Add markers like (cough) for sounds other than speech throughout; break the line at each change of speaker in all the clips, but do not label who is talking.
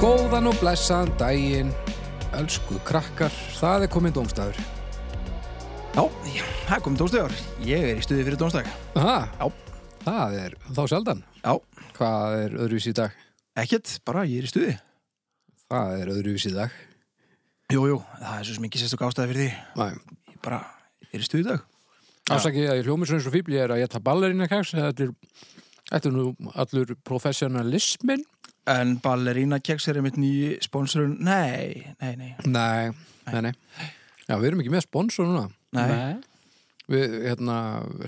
Góðan og blessaðan daginn, elsku krakkar, það er komið dómstafur.
Já, já, það kom tónstöðar. Ég er í stuði fyrir tónstöðar.
Aha,
Já.
það er þá sjaldan.
Já,
Hvað er öðruvísi í dag?
ekkert, bara ég er í stuði.
Það er öðruvísi í dag.
Jú, jú, það er svo sem ekki sérstök ástæði fyrir því.
Næ,
Ég bara, ég er í stuði í dag.
afsakið að ég hljómið svona eins og fíbl, ég er að geta ballerina kæks, þetta er, þetta er nú allur professionalismin.
En ballerína keks er einmitt nýji sponsorun. Nei, nei, nei.
Nei, nei, nei. Já, við erum ekki með sponsor núna.
Nei.
Við, hérna,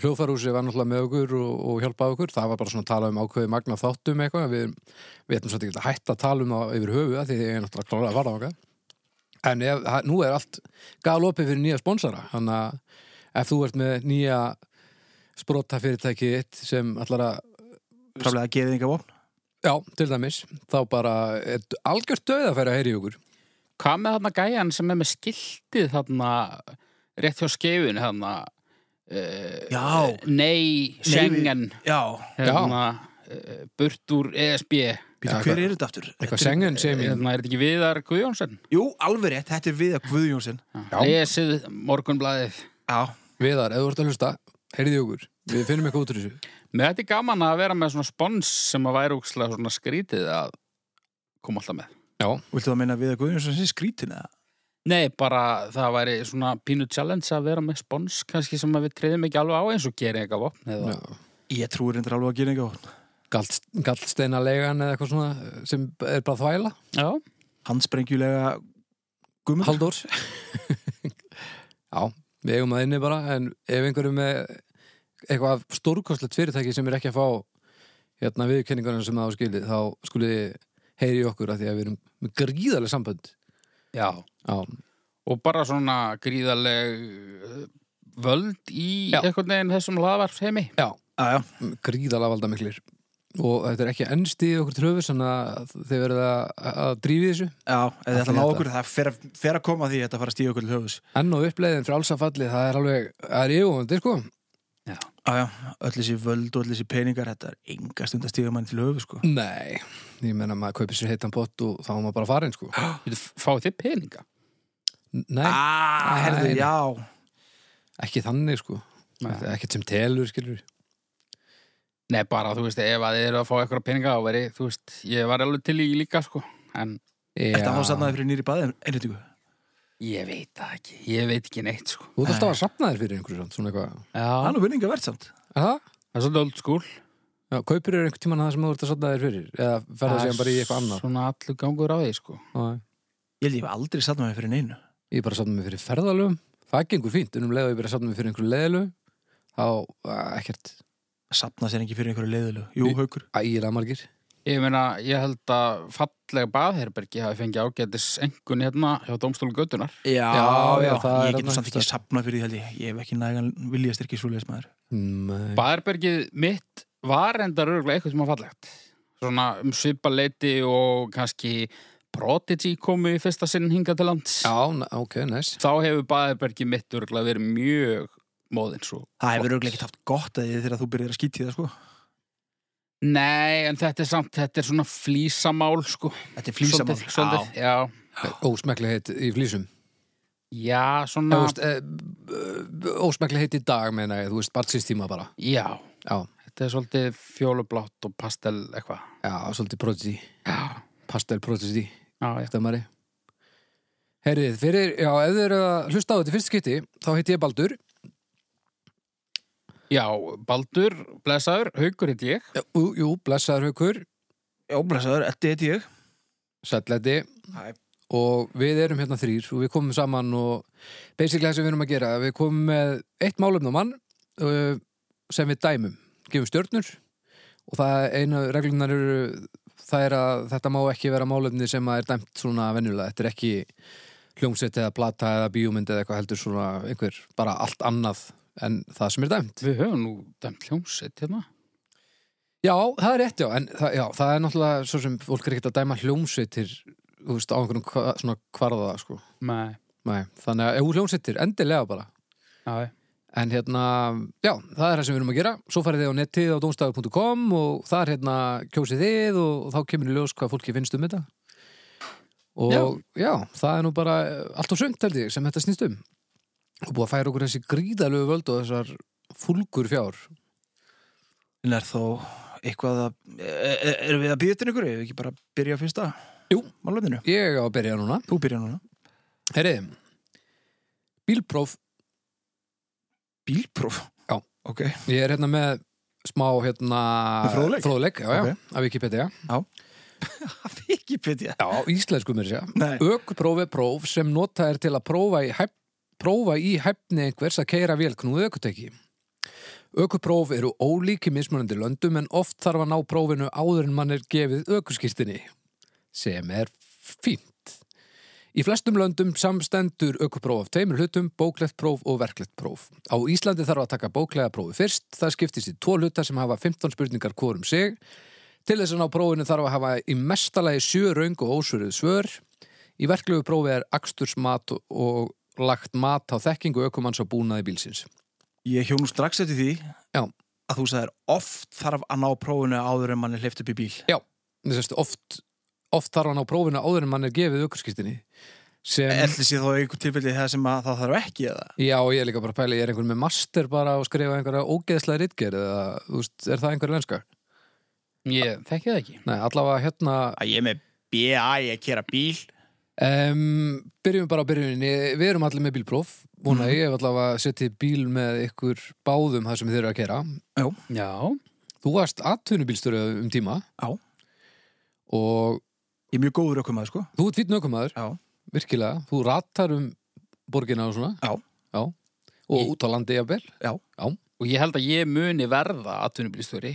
hljóðfarúsi var náttúrulega með okkur og, og hjálpaði okkur. Það var bara svona að tala um ákveði magna þáttum eitthvað. Við, við erum svolítið ekki að hætta að tala um það yfir höfuða því ég er náttúrulega klárað að varða okkar. En ef, ha- nú er allt galopið fyrir nýja sponsora. Þannig að ef þú ert með nýja sprotafyrirtæki eitt sem allar að,
Tráflega að geðið ykkar vopn.
já, til dæmis, þá bara er algjört döð að færa að heyri okkur.
Hvað með þarna gæjan sem er með skiltið þarna rétt hjá skeifin þarna uh,
Já.
Nei, Schengen
Já.
hérna, uh, burt úr ESB
Býtu,
Já,
hver
eitthvað-
er þetta aftur?
Eitthvað
Þetta er-
sengen sem ég,
hérna, er þetta ekki Viðar Guðjónsson?
Jú, alveg rétt, þetta er við að Guðjónsson.
Já.
Lesið morgunblæðið
Já.
viðar, ef þú ert að hlusta, heyriði okkur. Við finnum eitthvað út úr þessu.
Mér þetta er gaman að vera með svona spons sem að væri úkslega svona skrítið að koma alltaf með
Viltu það meina að við að Guðjónsson sé skrítin eða?
Nei, bara það væri svona pínu challenge að vera með spons kannski sem að við treyðum ekki alveg á eins og gerir eitthvað vopn eða
Já.
Ég trúi reyndar alveg að geðið ykkar vopn.
Gall, gallsteinalegan eða eitthvað svona eh, sem er bara þvæla
Já.
Handsprengjulegu gummur.
Halldór Já, við eigum að inni bara en ef einhverju með eitthvað stórkostlegt fyrirtæki sem er ekki að fá hérna viðkenningarna sem það á skili þá skulið heyri í okkur að því að við erum með gríðarlega sambönd
Já.
Já,
og bara svona gríðaleg eh, völd í
Já.
einhvern veginn þessum hlaðvarp heimi.
Ah, Já, já.
gríðarlega valda miklir og þetta er ekki ennst í okkur tröfu þannig að þið verða að, að drífi þessu
Já, ef þið
Allir
ætla að ná
þetta.
okkur, það fer, að- fer að koma að því að þetta fara að stíða okkur til höfus.
enn og uppleiðin frálsafalli, það er alveg það er yfirvóðandi sko
Já, já, öll þessi völd og öll þessi peningar, þetta er enga stund að stíða mann til höfu, sko.
Nei, ég menna maður kaupir sér heitan pott og þá er maður bara farin sko (gasps)
Við fáið þið peninga.
N- Nei,
Ah, herðu,
Nei.
já.
ekki þannig sko
Nei.
Þetta er Ekkert sem telur skilur
Nei, bara, þú veist, ef að þið eru að fá eitthvað peninga þá veri, þú veist, ég var alveg til í líka, sko, en
Þetta var sannaði fyrir nýri baði, einrýtingu.
ég veit það ekki, ég veit ekki neitt, sko.
Þú ert alltaf að sapna þér fyrir einhverju samt, svona eitthvað
Já.
Það er nú vinninga verðt samt.
Er Það?
Það er svolítið old school.
Já, kaupir þér einhvern tímann það sem þú ert að sapna þér fyrir eða ferða
er
sér bara í eitthvað annar
Svona allur gangur á því, sko.
Nei.
Ég held ég hef aldrei satt maður fyrir neinu.
Ég er bara að sapna mig fyrir ferðalöfum Það er ekki einhver fínt, en um leið og ég er bara að sapna mig fyrir einhverju leiðalöfum þá eh, ekkert
Að sapna sér ekki fyrir einhverju leiðilegu. Jú,
Í-
haukur.
ægilega margir
Ég meina, ég held að fallega baðherbergi hafi fengið ágætis engun hérna hjá Dómstólu Götunar.
Já,
já, það er
Ég get nú
þarna
samt ekki
einhvers
sapnað fyrir því, held ég. Ég hef ekki nægan viljastyrki svoleiðis maður.
Nei.
Baðherbergið mitt var endar örgulega eitthvað sem var fallegt. Svona um svipaleiti og kannski Prodigy komu í fyrsta sinn hingað til lands.
Já, na- ok, nice
Þá hefur baðherbergið mitt örgulega verið mjög sko. móðinn svo.
Það hefur
Flott.
örglega ekkert haft gott að því þegar þú byrjar að skýti það, sko.
Nei, en þetta er samt, þetta er svona flísamál sko.
Þetta er flýsamál.
Svolítið, svolítið, já.
Ósmekli heit í flýsum
Já, svona,
eh, Ósmekli heit í dag, meina ég, þú veist, barnsýstíma bara
já.
Já,
Þetta er svolítið fjólublátt og pastel eitthvað.
já, svolítið prodigy
Já,
Pastel prodigy
já, já.
Stömmari Herrið, fyrir, já, ef þið eru að hlusta á þetta í fyrst skipti, þá heiti ég Baldur
Já, Baldur, blessaður, haugur hitt ég.
Jú, jú blessaður haukur,
Já, blessaður, þetta heiti ég.
sætleiti
Hæ.
og við erum hérna þrýr og við komum saman og basically það sem við erum að gera, við komum með eitt málefn á mann uh, sem við dæmum, gefum stjörnur og það einu reglunar eru það er að þetta má ekki vera málefni sem að er dæmt svona venjulega, þetta er ekki hljómsveit eða plata eða bíómynd eða eitthvað heldur svona einhver, bara allt annað en það sem er dæmt
Við höfum nú dæmt hljómsett hérna.
Já, það er rétt, já, en það, já, það er náttúrulega svo sem fólk er ekkert að dæma hljómsveitir þú veist, á einhverjum hva, svona kvarða sko.
Nei,
Nei, þannig að, jú, hljómsveitir, endilega bara
já, já.
en hérna, já, það er það sem við erum að gera svo farið þið á netið á domstafur.com og þar hérna kjósið þið og þá kemur í ljós hvað fólki finnst um þetta og já. það er nú bara eh, allt og sumt held ég sem þetta snýst um og búið að færa okkur þessi gríðalögu völd og þessar fúlgur fjár
En er þó eitthvað að, e- e- erum við að býða til ykkur? Ef við ekki bara byrja á fyrsta?
Jú.
Málefninu?
ég á að byrja núna
Þú byrja núna.
Herriði, bílpróf
Bílpróf?
Já.
Ok.
Ég er hérna með smá hérna
Með fróðleik?
já, já, af Wikipedia
Wikipedia.
Já, íslensku mér sér
Nei.
Ökpróf er próf sem notað er til að prófa í, hæf, prófa í hæfni einhvers að keira vélknúðu ökuteki Ökupróf eru ólíki mismunandi löndum en oft þarf að ná prófinu áður en mann er gefið ökuskirtinni sem er fínt Í flestum löndum samstendur ökupróf af tveimur hlutum, bóklegt próf og verklegt próf. Á Íslandi þarf að taka bóklega prófi fyrst, það skiptist í tvo hluta sem hafa 15 spurningar hvorum sig. Til þess að ná prófinu þarf að hafa í mestalagi sjö raung og ósvöruð svör. Í verklegu prófi er akstursmat og lagt mat á þekkingu ökumanns og búnaði bílsins.
Ég hjónu strax eftir því
Já.
að þú sagðir oft þarf að ná prófunu áður en mann er hleyft upp í bíl.
Þess að oft, oft þarf að ná prófinu áður en mann er gefið ökurskistinni. Sem,
Ætli sé þá einhver tilfelli það sem að það þarf ekki eða?
já, ég er líka bara að pæla, ég er einhver með master bara og skrifa einhverja ógeðslega ritgerð eða, þú veist, er það einhverja lenska?
Ég þekki það ekki.
Nei, allavega hérna
Að ég er með BA, ég kera bíl.
um, Byrjum bara á byrjuninni Við erum allir með bílpróf Vona
Mhm.
ég hef allavega setið bíl með ykkur báðum það sem þið eru að kera
Já.
Þú varst atvinnubílstöru um tíma
Já.
Og
Ég er mjög góður okkur maður sko.
þú ert fýtt nökumaður
Já.
Virkilega, þú ratar um borgina og svona
Já.
Já. Og
Ég-
út á landi jafnvel
Og ég held að ég muni verða atvinnubílstjóri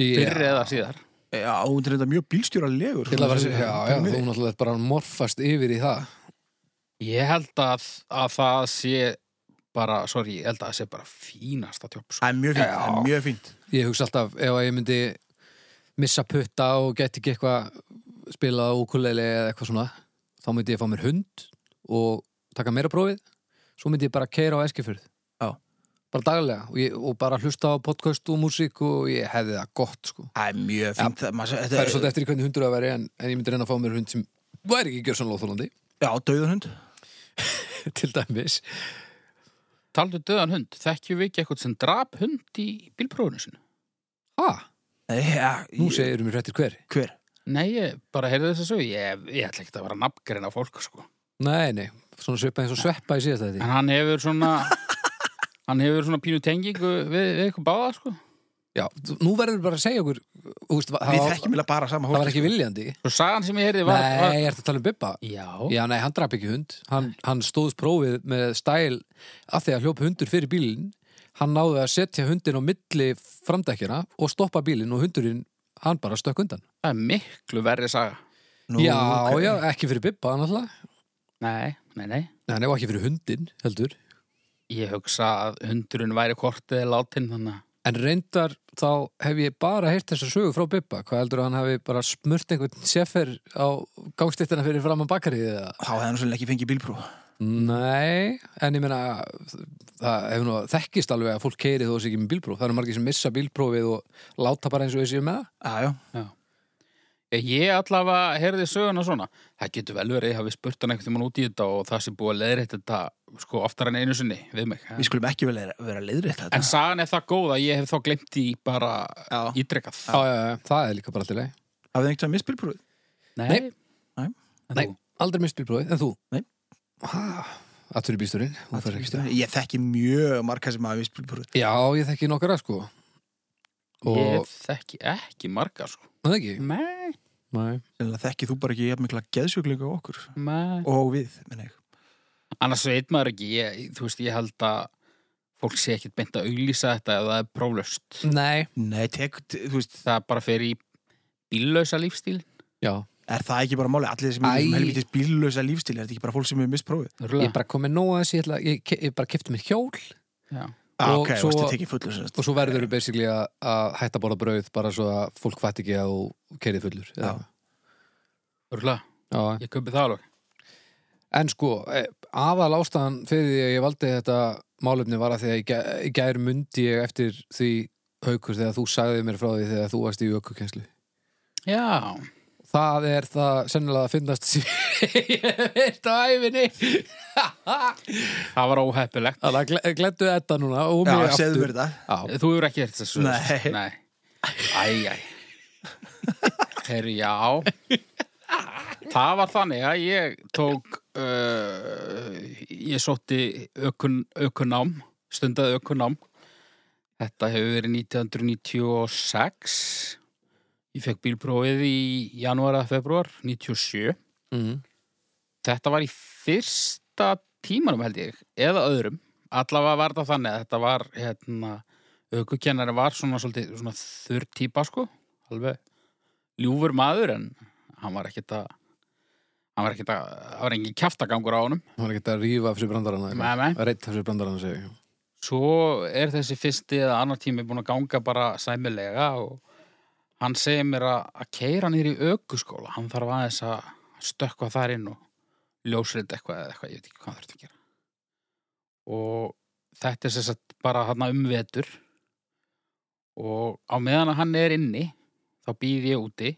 Ég-
fyrr eða síðar.
Já, hún er þetta mjög bílstjóralegur.
Ég ætla að fara að segja- Já, já, þú náttúrulega er bara að morfast yfir í það
Ég held að, að það sé bara, sorry, ég held að það sé bara fínasta tjópp. Sko.
Það er mjög fínt, það
Já.
er mjög fínt.
Ég hugsa alltaf ef að ég myndi missa putta og geti ekki eitthvað spilað á ukulele eða eitthvað svona þá myndi ég fá mér hund og taka meira prófið svo myndi ég bara keira á eskifjörð
Já.
bara daglega og, ég, og bara hlusta á podcast og músík og ég hefði það gott sko.
Það er mjög fínt. Það, maður,
það
þetta
er svolítið eftir í hvernig hundur það væri en, en ég myndi reyna að fá mér hund sem væri ekki gjörsanlega þólandi
Já, döðunhund.
til dæmis
Taldu döðan hund, þekkjum við ekki eitthvað sem drap hund í bílprófinu sinu?
ha,
Nei, já.
Nú
ég-
segir mér hrettir hver
Hver?
Nei, ég bara heyrði þess að sögja, ég, ég ætla ekki að vera nafngreina fólk, sko.
Nei, nei, svona svipað eins og sveppa í síðast þetta
En hann hefur (laughs) svona, hann hefur svona pínu tengingu við, við eitthvað báða, sko.
Já, nú verður bara að segja okkur þú veist, það
Við
var-
þekkjum vilja bara sama
það
hólk.
var ekki viljandi
Svo sagan sem ég heyrði var... var
Nei, ég ert að tala um Bubba
Já,
Já, nei, hann drap ekki hund Hann, hann stóðs prófið með stæl af því að hljóp hundur fyrir bílinn Hann náði að setja hundin á milli framdækjana og stoppa bílinn og hundurinn hann bara stökk undan
það er miklu verri saga.
Nú,
Já,
ok.
já, ekki fyrir Bubba náttúrulega
Nei, nei, nei.
Nei, hann er ekki fyrir hundin, heldur
Ég hugsa að hundurinn væri kortið eða látin þannig.
En reyndar þá hef ég bara heyrt þessa sögu frá Bubba Hvað heldur hann hafi bara smurt einhvern seffer á gangstéttina fyrir framan bakarið eða
Þá hefði hann svolítið ekki fengið bílpróf.
Nei, en ég meina það hefur nú þekkist alveg að fólk keiri þó sé ekki með bílpróf. Það eru margir sem missa bílprófið og láta bara eins og þessi með það.
Já, já.
Ég allavega heyrði söguna svona. Það getur vel verið að ég hafi spurt hann einhvern tímann út í þetta og það sem búið að leiðrétt þetta sko oftar en einu sinni við mig.
Við skulum ekki vel vera leiðrétt þetta.
En sagan er það góð að ég hef þá glemt í bara
Já.
ítrekkað.
Já, já, já, það er líka bara alltaf leið.
Hafið þið einhvern veginn misbílprófið?
Nei.
Nei.
Nei, aldrei mist bílprófið, en þú?
Nei.
Atur í bílstúrin, þú fer ekki stund.
Ég þekki mjög marga sem hafa misbílprófið.
Já, ég þekki nokkara, sko. Og,
Ég þekki ekki marga sko.
það ekki?
Nei.
Nei.
Sennilega þekki þú bara ekki jafn mikla geðsjögleika og okkur.
Nei.
Og við, menn ég.
Annars veit maður ekki, ég, þú veist, ég held að fólk sé ekkit beint að auglýsa þetta ef það er próflöst.
Nei.
Nei, tek, t- þú veist,
Það bara fer í bíllausa lífstíl.
Já,
er það ekki bara máli? Allir sem
Æ.
er helvitis bíllösa lífstíl, er þetta ekki bara fólk sem hefur misprófið?
ég er bara komið nóg að þessi, ég, ætla- ég, ke- ég bara kefti mér hjól
Já.
Ah,
Og
ok,
svo-
svo... varstu tekið fullu sem
og svo verður þau basically að, að hætta að borða brauð bara svo að fólk fætt ekki að þú keirið fullur.
Já.
Örgulega,
Já,
ég köpi það alveg.
En sko, eh, aðal ástæðan fyrir því að ég valdi þetta málefni var að því að í gær, í gær mundi ég eftir því haukur þegar þú sagði mér frá því þegar þú varst í ökukenslu.
Já,
það er það sennilega að finnast sem ég hef heyrt á æfinni
(laughs) Það var óheppilegt.
Þannig að glettu þetta núna og mig
Já,
aftur
segðu mér það
Já,
Þú hefur ekki hérst þessu.
Nei.
Nei. Æ, æ. Herru, já. Það var þannig að ég tók, uh, ég sótti ökun, ökunám, stundaði ökunám. Þetta hefur verið 1996. Ég fekk bílprófið í janúar að februar, 97.
mm,
Þetta var í fyrsta tímanum held ég, eða öðrum. Allavega var þetta þannig að þetta var, hérna, aukukennari var svona svolítið svona þurr típa, sko. Alveg ljúfur maður en hann var ekkit að, hann var ekkit að, það var engin kjaftagangur á honum.
hann er ekki að rífa fyrir brandarana
Nei, nei.
að reyta fyrir brandarana segi ég.
Svo er þessi fyrsti eða annar tími búin að ganga bara sæmilega og hann segir mér að, að keira nýr í aukuskóla. Hann þarf aðeins að stökkva þar inn og ljósrita eitthvað eða eitthvað, ég veit ekki hvað hann þarf að gera. Og þetta er sem sagt bara hann um vetur og á meðan að hann er inni þá býð ég úti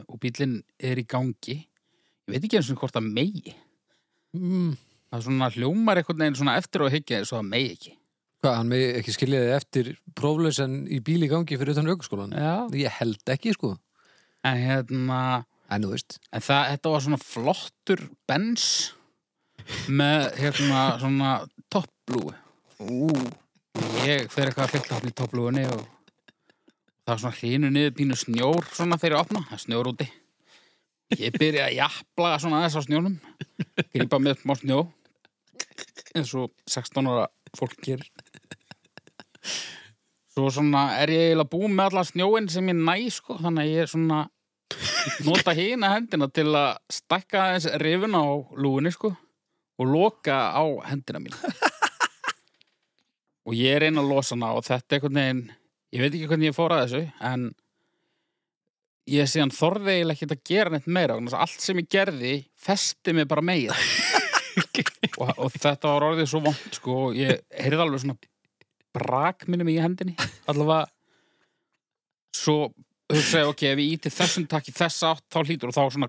og bílinn er í gangi. Ég veit ekki eins og hvort það megi.
mm,
Það er svona hljómar einhvern veginn svona eftir og higgja eins og það megi ekki.
Hvað, hann megi ekki skilja þið eftir próflösen í bíl í gangi fyrir utan aukaskólan
Já.
Ég held ekki sko
En hérna,
En þú veist
En það, þetta var svona flottur bens með hérna svona toppblúi.
Ú,
Ég fer eitthvað að fylgta hann í toppblúinni og það var svona hlínu niður pínu snjór svona þegar ég opna, það er snjór úti. Ég byrja að japla svona aðeins á snjónum, grípa með smá snjó eins og 16 ára fólk gerir. Svo svona er ég eiginlega búin með alla snjóin sem ég næ sko, þannig að ég er svona nota hina hendina til að stakka aðeins rifuna á lúinni sko og loka á hendina mín og ég reyna að losa hana og þetta er einhvern veginn ég veit ekki hvernig ég fór að þessu en ég síðan þorði eiginlega ekki að gera neitt meira vegna þess að allt sem ég gerði festi mig bara með og, og þetta var orðið svo vond sko og ég heyrði alveg svona brak minnum í hendinni allavega svo hugsaði, ok, ef ég íti þessum takk í þessa átt, þá hlýtur og þá svona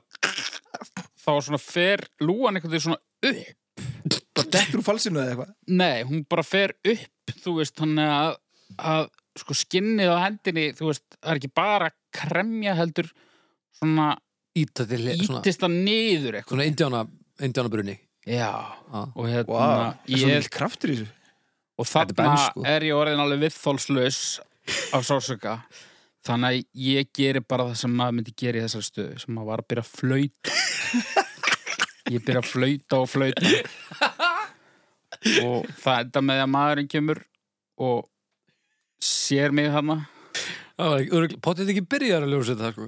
þá svona fer lúan einhvern veginn svona upp
bara dettur úr falsinu eða eitthvað
nei, hún bara fer upp, þú veist þannig að, að sko skinnið á hendinni, þú veist, það er ekki bara að kremja heldur svona
Íta til svona,
ítist það niður eitthvað
svona indjána, indjánabrunni
já,
ah.
og hérna
Vá, það er svo
ég,
mikil kraftur í þessu
og
Þetta er bens,
þarna
sko.
er ég orðin alveg viðþólslaus af sársöka þannig að ég geri bara það sem maður myndi gera í þessari stöðu sem maður var að byrja að flauta
(laughs)
ég byrja að flauta og flauta og það enda með að maðurinn kemur og sér mig þarna
Það var ekki, örugl- pottþétt ekki byrjar að ljósa þetta sko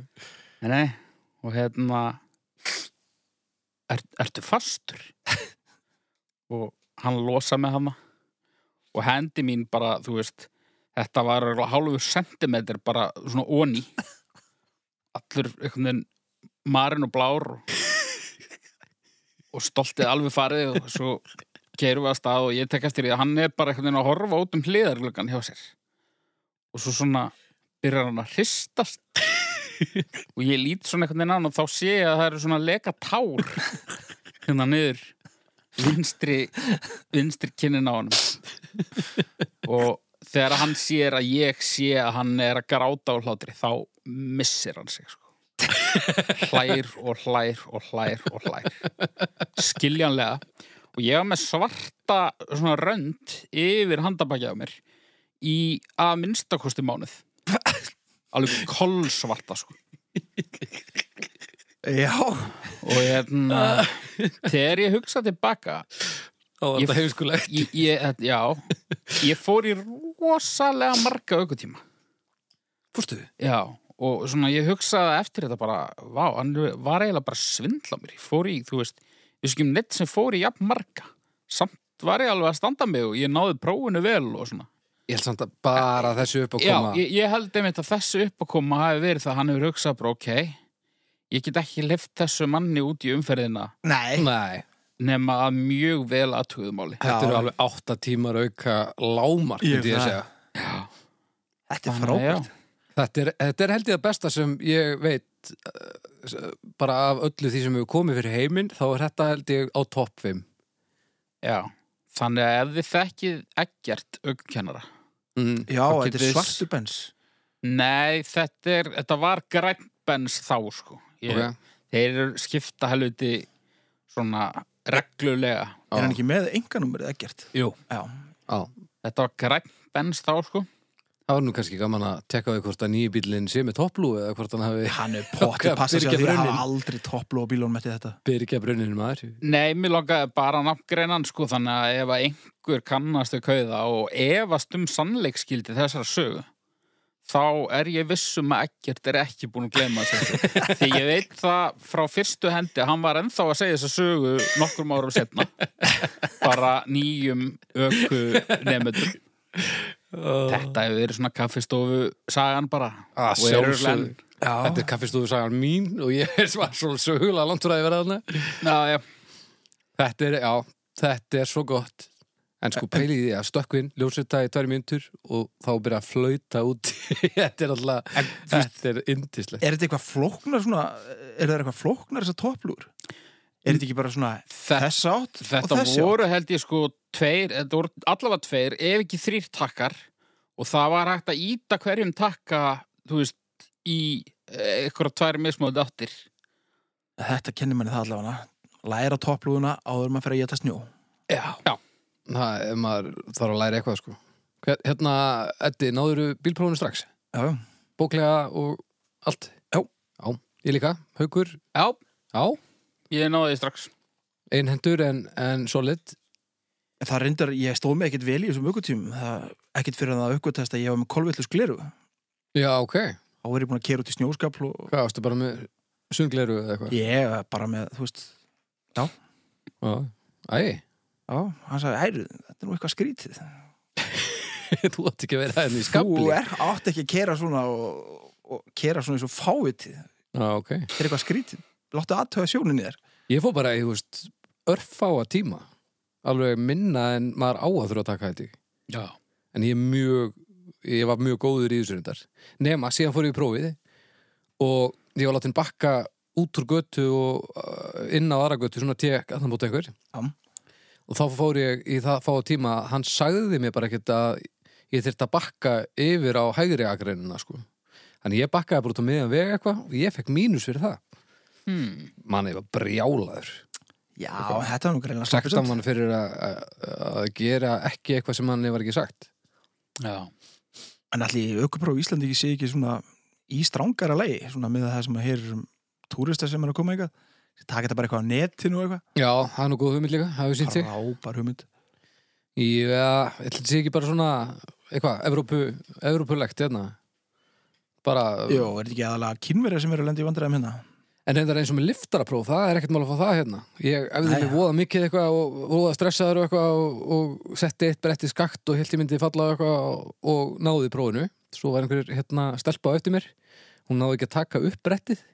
Nei, nei, og hérna er, Ertu fastur? (laughs) og hann losa með hana og hendi mín bara, þú veist þetta var örugglega hálfur sentimetr bara svona óni allur einhvern veginn marinn og blár og, og stoltið alveg farið og svo keirum við að stað og ég tek eftir því að hann er bara einhvern veginn að horfa út um hliðarlugan hjá sér og svo svona byrjar hann að hristast og ég lít svona einhvern veginn á hann og þá sé ég að það eru svona leka tár hérna niður vinstri, vinstri kinnin á hann og þegar hann sér að ég sé að hann er að gráta á hlátri þá missir hann sig sko. hlær og hlær og hlær og hlær skiljanlega og ég var með svarta svona rönd yfir handabakið á mér í að minnstakosti mánuð alveg kolsvarta sko
Já,
og hérna þegar ég hugsa tilbaka
Það var
Ég-
þetta heimskulegt
ég, ég, þetta- já, ég fór í rosalega marga aukutíma
Fórstu?
já, og svona ég hugsaði eftir þetta bara, vá, hann var eiginlega bara að svindla á mér, ég fór í, þú veist við skilum neitt sem fór í jafn marga samt var ég alveg að standa mig og ég náði prófinu vel og svona
Ég held samt að bara þessu upp að
Já,
koma
ég, ég held einmitt að þessu uppakoma hafi verið það að hann hefur hugsað bara, ok ég get ekki lift þessu manni út í umferðina
nei
Nei,
nema að mjög vel aðtöðumáli
þetta
Já.
eru alveg átta tímar auka lámark,
Ég
myndi ég að
það.
segja
Þetta er
Þannig að,
frábært
já.
Þetta er, þetta er held ég að besta sem ég veit eh, s- bara af öllu því sem hefur komið fyrir heiminn þá er þetta held ég á topp 5
Já, þannig að ef þið þekkið ekkert aukukennara
mm.
Já, þetta
Og
er
getur-
svartu bens
Nei, þetta, er, þetta var græmpens þá sko ég,
ok.
Þeir eru skipta helviti svona reglulega
Er hann
Já,
ekki með enganúmerið ekkert?
Jú
Já,
já.
Þetta var græmpens þá sko
Það var nú kannski gaman að tekka við hvort að nýju bílinn sé með topplú eða hvort hann hafi
hann er pottið
Hvað,
passa sig að því
byrgja
að hafa
brunninn?
aldrei topplóa bílunum eftir þetta
byrgja brunninu maður
Nei, mér langaði bara að nafngreinan sko þannig að ef að einhver kannast við kauða og efast um sannleikskildi þessara sögu þá er ég vissum að ekkert er ekki búin að gleyma þessu því ég veit það frá fyrstu hendi að hann var ennþá að segja þessa sögu nokkrum árum setna bara nýjum öku nefnum þetta hefur verið svona kaffistofu sagan bara
Ah,
Og er örugglega
sjálfsögðu.
enn-
Þetta er kaffistúðu sagan mín og ég er svar svo sögulega langt úr að ég verða þarna
Já, já,
Þetta er, já, þetta er svo gott En sko pælið í því að stökkvinn ljósita í tvær myndur og þá byrja að flauta út (laughs) Þetta er alltaf,
En, þú veist,
þetta er yndislegt
er þetta eitthvað flóknar svona Er það eitthvað flóknar þessar topplúr? Er þetta ekki bara svona
þetta
þess átt og
Þetta
þessi átt?
voru held ég sko tveir, þetta voru allavega tveir, ef ekki þrýr takkar og það var hægt að íta hverjum takka, þú veist, í eitthvað tvær mismóði áttir.
Þetta kennir manni það allavega Læra topplúðuna áður en maður fyrir að geta snjó
Já.
Já.
Það, ef maður þarf að læra eitthvað sko. Hver, hérna, Eddi, náðuru bílprófunu strax?
Já, já
Bóklega og allt?
Já.
Já, ég líka. Haukur,
Já,
já,
ég náði því strax.
einhendur en, en solid.
En Það reyndar, ég stóð mig ekkert vel í þessum aukutímum Það- ekkert fyrir að það aukutest að ég var með kolvillus gleru
Já, ok.
Þá var ég búin að kera út í snjóskapl og
Hvað ástu bara með sungleru eða eitthvað?
ég var bara með, þú veist
Já. Æ,
Já, hann sagði, hæru, þetta er nú eitthvað skrítið
(laughs) þú átt ekki að vera henni í skabli.
Þú er, átt ekki að kera svona og, og kera svona eins og fávitið Þetta
Já, ok.
er eitthvað skrítið Láttu aðtöða sjóninni þér
Ég fór bara, ég veist, örfáa tíma. Alveg minna en maður á að þurfa að taka þetta í.
Já.
en ég er mjög ég var mjög góður í þessu reyndar nema, síðan fór ég í prófið og ég var látin bakka út úr götu og uh, inn á aðra götu svona tek að það múti einhver
Já.
og þá fór ég í það fá tíma að hann sagði mér bara ekkert að ég þyrfti að bakka yfir á hægri agreinina sko þannig ég bakkaði bara út á miðan veg eitthvað og ég fekk mínus fyrir það
Hmm.
mann ég var brjálaður
Já, þetta var nú greinlega
sagt
slæmt.
að mann fyrir að, að, að gera ekki eitthvað sem manni var ekki sagt
Já.
En allir aukupróf í Íslandi ekki sé ekki svona í strángara lei, svona með það sem að heyrir um túristar sem er að koma eitthvað taka þetta bara eitthvað á netinu og eitthvað
já, það er nú góð hugmynd líka, hafið sýnt sig
Rápar hugmynd
Já, ég ætla að sé ekki bara svona eitthvað, Evrópu, Evrópulegt hérna bara,
Jó, er þetta ekki aðalega kynverja sem eru að lenda í vandræðum hérna?
en reyndar eins og með liftarapróf það er ekkert mál að fá það hérna ég efði
Nei,
mig
ja.
voða mikið eitthvað og voða stressaður og eitthvað og, og setti eitt bretti skakt og helt ég myndi falla og eitthvað og, og náði prófinu svo var einhver hérna stelpa á eftir mér hún náði ekki að taka upp brettið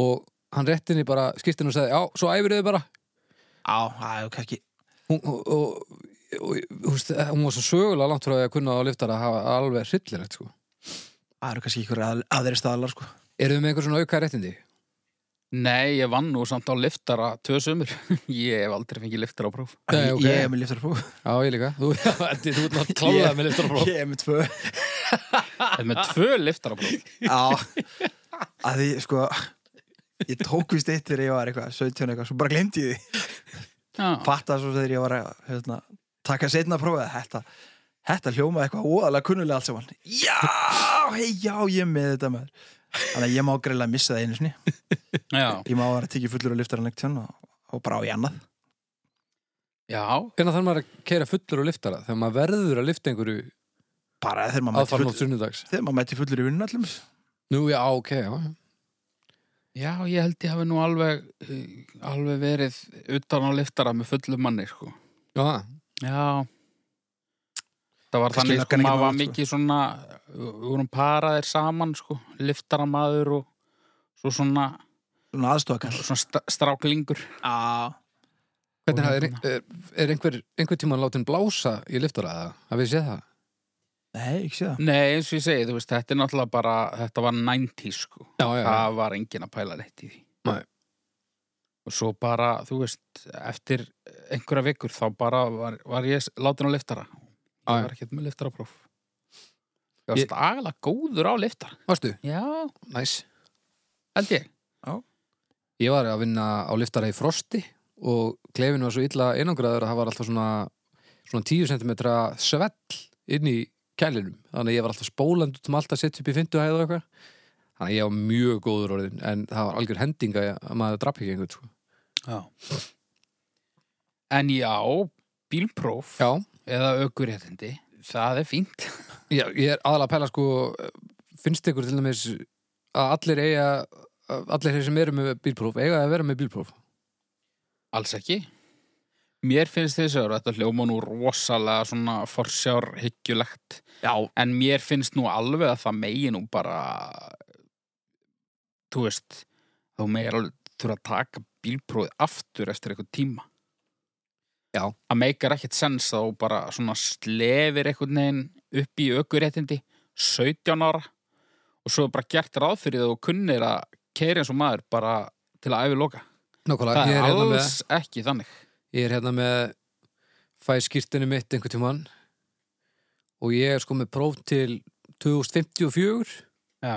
og hann réttinni bara skýrtinu og sagði, já, svo æfir þið bara
Á, það er kannski
hún, og, og, og, og húst, hún var svo sögulega langt frá því að kunna á liftar að hafa alveg hryllilegt sko.
Það eru kannski ykkur að, aðri staðalar sko
Eru þið með einhver svona auka réttindi?
Nei, ég vann nú samt á liftara tvö sömur. (laughs) ég hef aldrei fengið liftara á próf.
Nei, ok.
Ég er með liftarpróf
Já, ég líka Þú, (laughs) Eddi, þú ert náttúrulega klálega
Ég-
með liftarapróf
(laughs) Ég er með tvö
Þetta er (laughs) með tvö liftara próf.
Já, (laughs) að því sko Ég tók vist eitt þegar ég var eitthvað 17 eitthvað, svo bara glemdi ég því
Já.
Fatta svo þegar ég var að hérna, taka setna að prófa þetta Þetta hljómaði eitthvað óalega kunnulega allt saman Já, hei, já, ég er með þetta maður Þannig að ég má greiðlega missa það einu sinni
Já.
Ég má að vera að tekið fullur og liftar hann ekkert og, og bara á í annað
Já.
Hvernig þarf maður að keira fullur og liftara þegar maður verður að lifta einhverju
Bara þegar maður mæti,
aðfarnótt
full,
sunnudags?
þegar maður mæti fullur í vinnu allum
Nú, já, ok, já
Já, ég held ég hafi nú alveg, eh, alveg verið utan á liftara með fullu manni, sko.
Já,
Já Það var
Kannski
þannig,
löggan
sko,
ekki
maður var
nálægt, sko.
mikið svona við vorum paraðir saman, sko liftaramaður og svo svona,
Svona aðstofakar
svona sta- stráklingur hérna.
Já
hvernig hafði, er, er einhver, einhver tíma látin blása í liftara? Það við séð það?
Nei, Nei, ekki sé það
Nei, eins og ég segi, þú veist, þetta er náttúrulega bara, þetta var 90 sko.
Já, já, já.
Það var engin að pæla neitt í því.
Nei.
Og svo bara, þú veist, eftir einhverja vikur þá bara var, var ég látin á liftara.
Já, já.
Ég var ekkert með liftarapróf. Ég var
Ég-
stagalega góður á liftara.
Varstu?
Já,
Næs.
held ég.
Ég var að vinna á liftara í frosti og klefin var svo illa einangraður að það var alltaf svona, svona 10 cm svell inn í kælinum. Þannig að ég var alltaf spóland út um allt að setja upp í 50 hæð og eitthvað. Þannig að ég var mjög góður orðin en það var algjör hending að að maður drap ekki einhvern sko.
Já. En já, bílpróf
Já,
eða aukurréttindi, það er fínt.
ég, ég er aðalega að pæla sko, finnst ykkur til dæmis að allir eiga, að allir þeir sem eru með bílpróf eiga að vera með bílpróf?
Alls ekki. Mér finnst þessi að þetta hljóma nú rosalega svona forsjárhyggjulegt.
Já,
En mér finnst nú alveg að það megi nú bara, þú veist, þú megir alveg þurfa að taka bílprófið aftur eftir eitthvað tíma.
Já.
Það meikar ekkert sens að þú bara svona slefir einhvern veginn upp í aukuréttindi, 17 ára og svo er bara gert ráð fyrir það og kunnir að keiri eins og maður bara til að æfi loka.
Nákvæmlega, ég
Það er
er hérna með
alls ekki þannig.
Ég er hérna með fæ skýrtinu mitt einhvern tímann og ég er sko með próf til 2054
Já.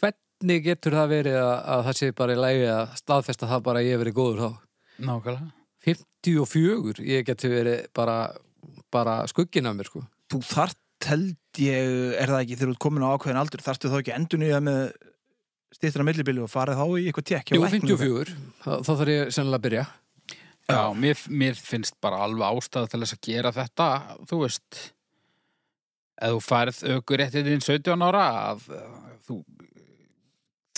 hvernig getur það verið að, að það sé bara í lægi að staðfesta það bara að ég hef verið góður þá
Nákvæmlega.
54, ég getur verið bara, bara skugginn af mér sko
þú þart held ég, er það ekki þegar þú ert komin á ákveðin aldur, þarftu þá ekki endur nýja með stýttina millibili og farið þá í eitthvað tekk
Jú, 54, þá, þá þarf ég sennilega að byrja
Já, mér, mér finnst bara alveg ástæða til þess að gera þetta, þú veist, ef þú færð aukur réttið þín 17 ára, að eh, þú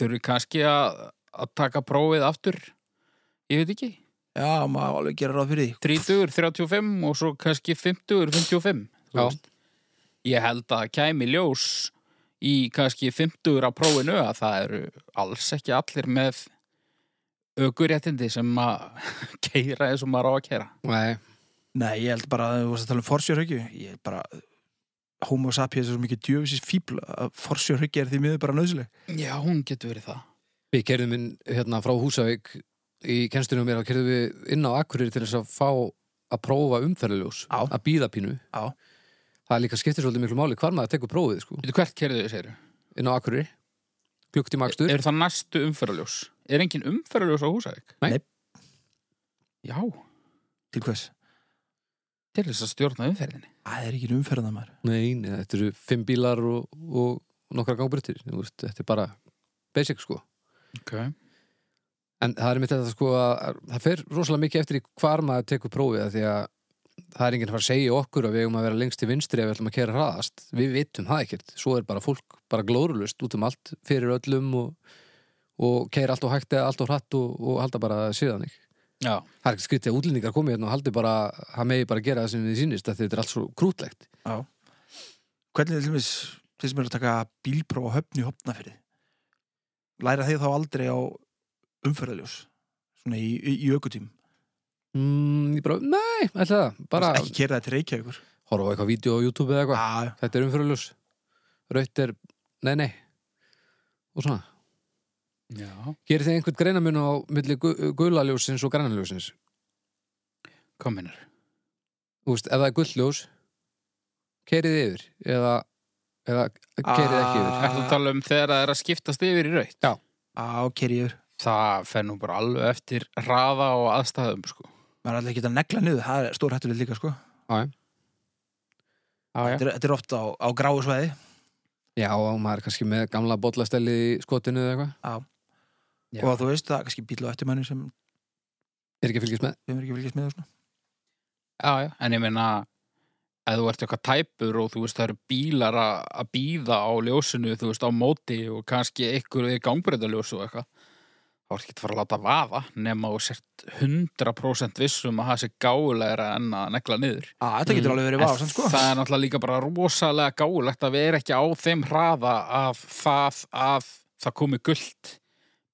þurfi kannski að, að taka prófið aftur, ég veit ekki,
Já, maður alveg gera ráð fyrir því
30, 35 og svo kannski 50, 55, þú
Já.
veist. Ég held að það kæmi ljós í kannski 50 að prófinu að það eru alls ekki allir með aukuréttindi sem að (laughs) keira eins og maður á að keira.
Nei,
Nei, ég held bara að þú varst að tala um forsjörhyggju Ég held bara Homo sapiens er svo mikið djöfisins fíbl að forsjörhyggja er því miður bara nöðsileg
Já, hún getur verið það.
við kerðum inn hérna frá Húsavík í kennstunum mér, þá kerðum við inn á Akureyri til þess að fá að prófa umferðaljós
Já.
að býða pínu
Já.
það er líka skiptir svolítið miklu máli hvar maður tekur prófið sko,
Veitu hvert kerðu þau, segir
inn á Akureyri klukktíma akstur,
Er það næstu umferðarljós? Er engin umferðarljós á Húsavík?
Nei.
Nei.
Já,
Til hvers?
til þess að stjórna umferðinni.
Æ, það er ekki umferðan maður
nei, nei, þetta eru fimm bílar og, og nokkra gangbreytir þetta er bara basic sko
Ok.
en það er mitt þetta sko að það fer rosalega mikið eftir í hvar maður tekur prófið af því að það er enginn að fara að segja okkur að við eigum að vera lengst til vinstri ef við ætlum að kera hraðast við vitum það ekkert, svo er bara fólk bara glórulust út um allt, fyrir öllum og, og keira allt og hægt eða allt og hratt og, og halda bara síðan ekki
Já.
það er ekki skrítið að útlendingar komið hérna og haldi bara það megi bara gera það sem þið sýnist af því þetta er allt svo krútlegt
Hvernig er til dæmis þeir sem eru að taka bílpró og höfn í hopnafyrði Læra þeir þá aldrei á umferðaljós Svona í, í, í aukutím
mm, ég bara, nei, ætla það bara
Ekki kera það til reykjavíkur
horfa á eitthvað vídeo á YouTube eða eitthvað
Já,
þetta er umfyrirljós raut er, nei, nei og svona
Já.
Gerir þið einhvern greinamun á milli gu- gula ljósins og græna ljósins?
Kominar.
Þú veist, ef það er gull ljós, keirið yfir eða, eða keirið ekki yfir.
Ah.
Ertu að tala um þegar það er að skiptast yfir í raut? Já.
á keri yfir
Það fer nú bara alveg eftir raða og aðstæðum, sko.
Maður er alltaf ekki að negla niður, það er stór hættulegt líka sko
Já,
Þetta er, þetta er oft á, á gráu svæði
Já, og maður er kannski með gamla bollastelli í skotinu eða eitthvað.
Já.
og þú veist það er kannski bíl og eftir manni sem
Er ekki að fylgjast með?
við erum ekki fylgjast með og svona
Já, já. En ég meina, ef þú ert eitthvað tæpur og þú veist það eru bílar að að bíða á ljósinu, þú veist, á móti og kannski ykkur er gangbreytaljósu og eitthvað, þá er ekki að fara að láta vaða nema þú sért 100% vissum um að það sé gáulegra en að negla niður.
að þetta
Mm.
getur alveg verið
En
vásamt sko
Það er náttúrulega líka bara rosalega gáulegt að vera ekki á þeim hraða að það að það komi gullt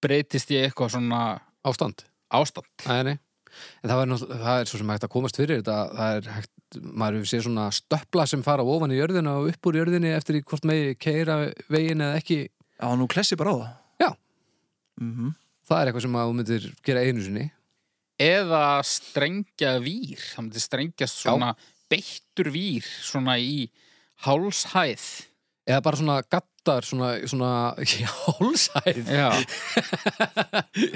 breytist í eitthvað svona
Ástand?
ástand.
Nei, nei. En það, var, náttúrulega- það er svo sem hægt að komast fyrir þetta. Það er hægt, veist, maður hefur séð svona stöpla sem fara ofan í jörðina og upp úr jörðinni eftir í hvort megi keira vegin eða ekki
Já, nú klessi bara á það
Já.
Mhm.
það er eitthvað sem að þú myndir gera einu sinni
Eða strengja vír, það myndi strengjast svona beittur vír, svona í hálshæð.
eða bara svona gattar svona, svona (laughs) hálsæð
Já,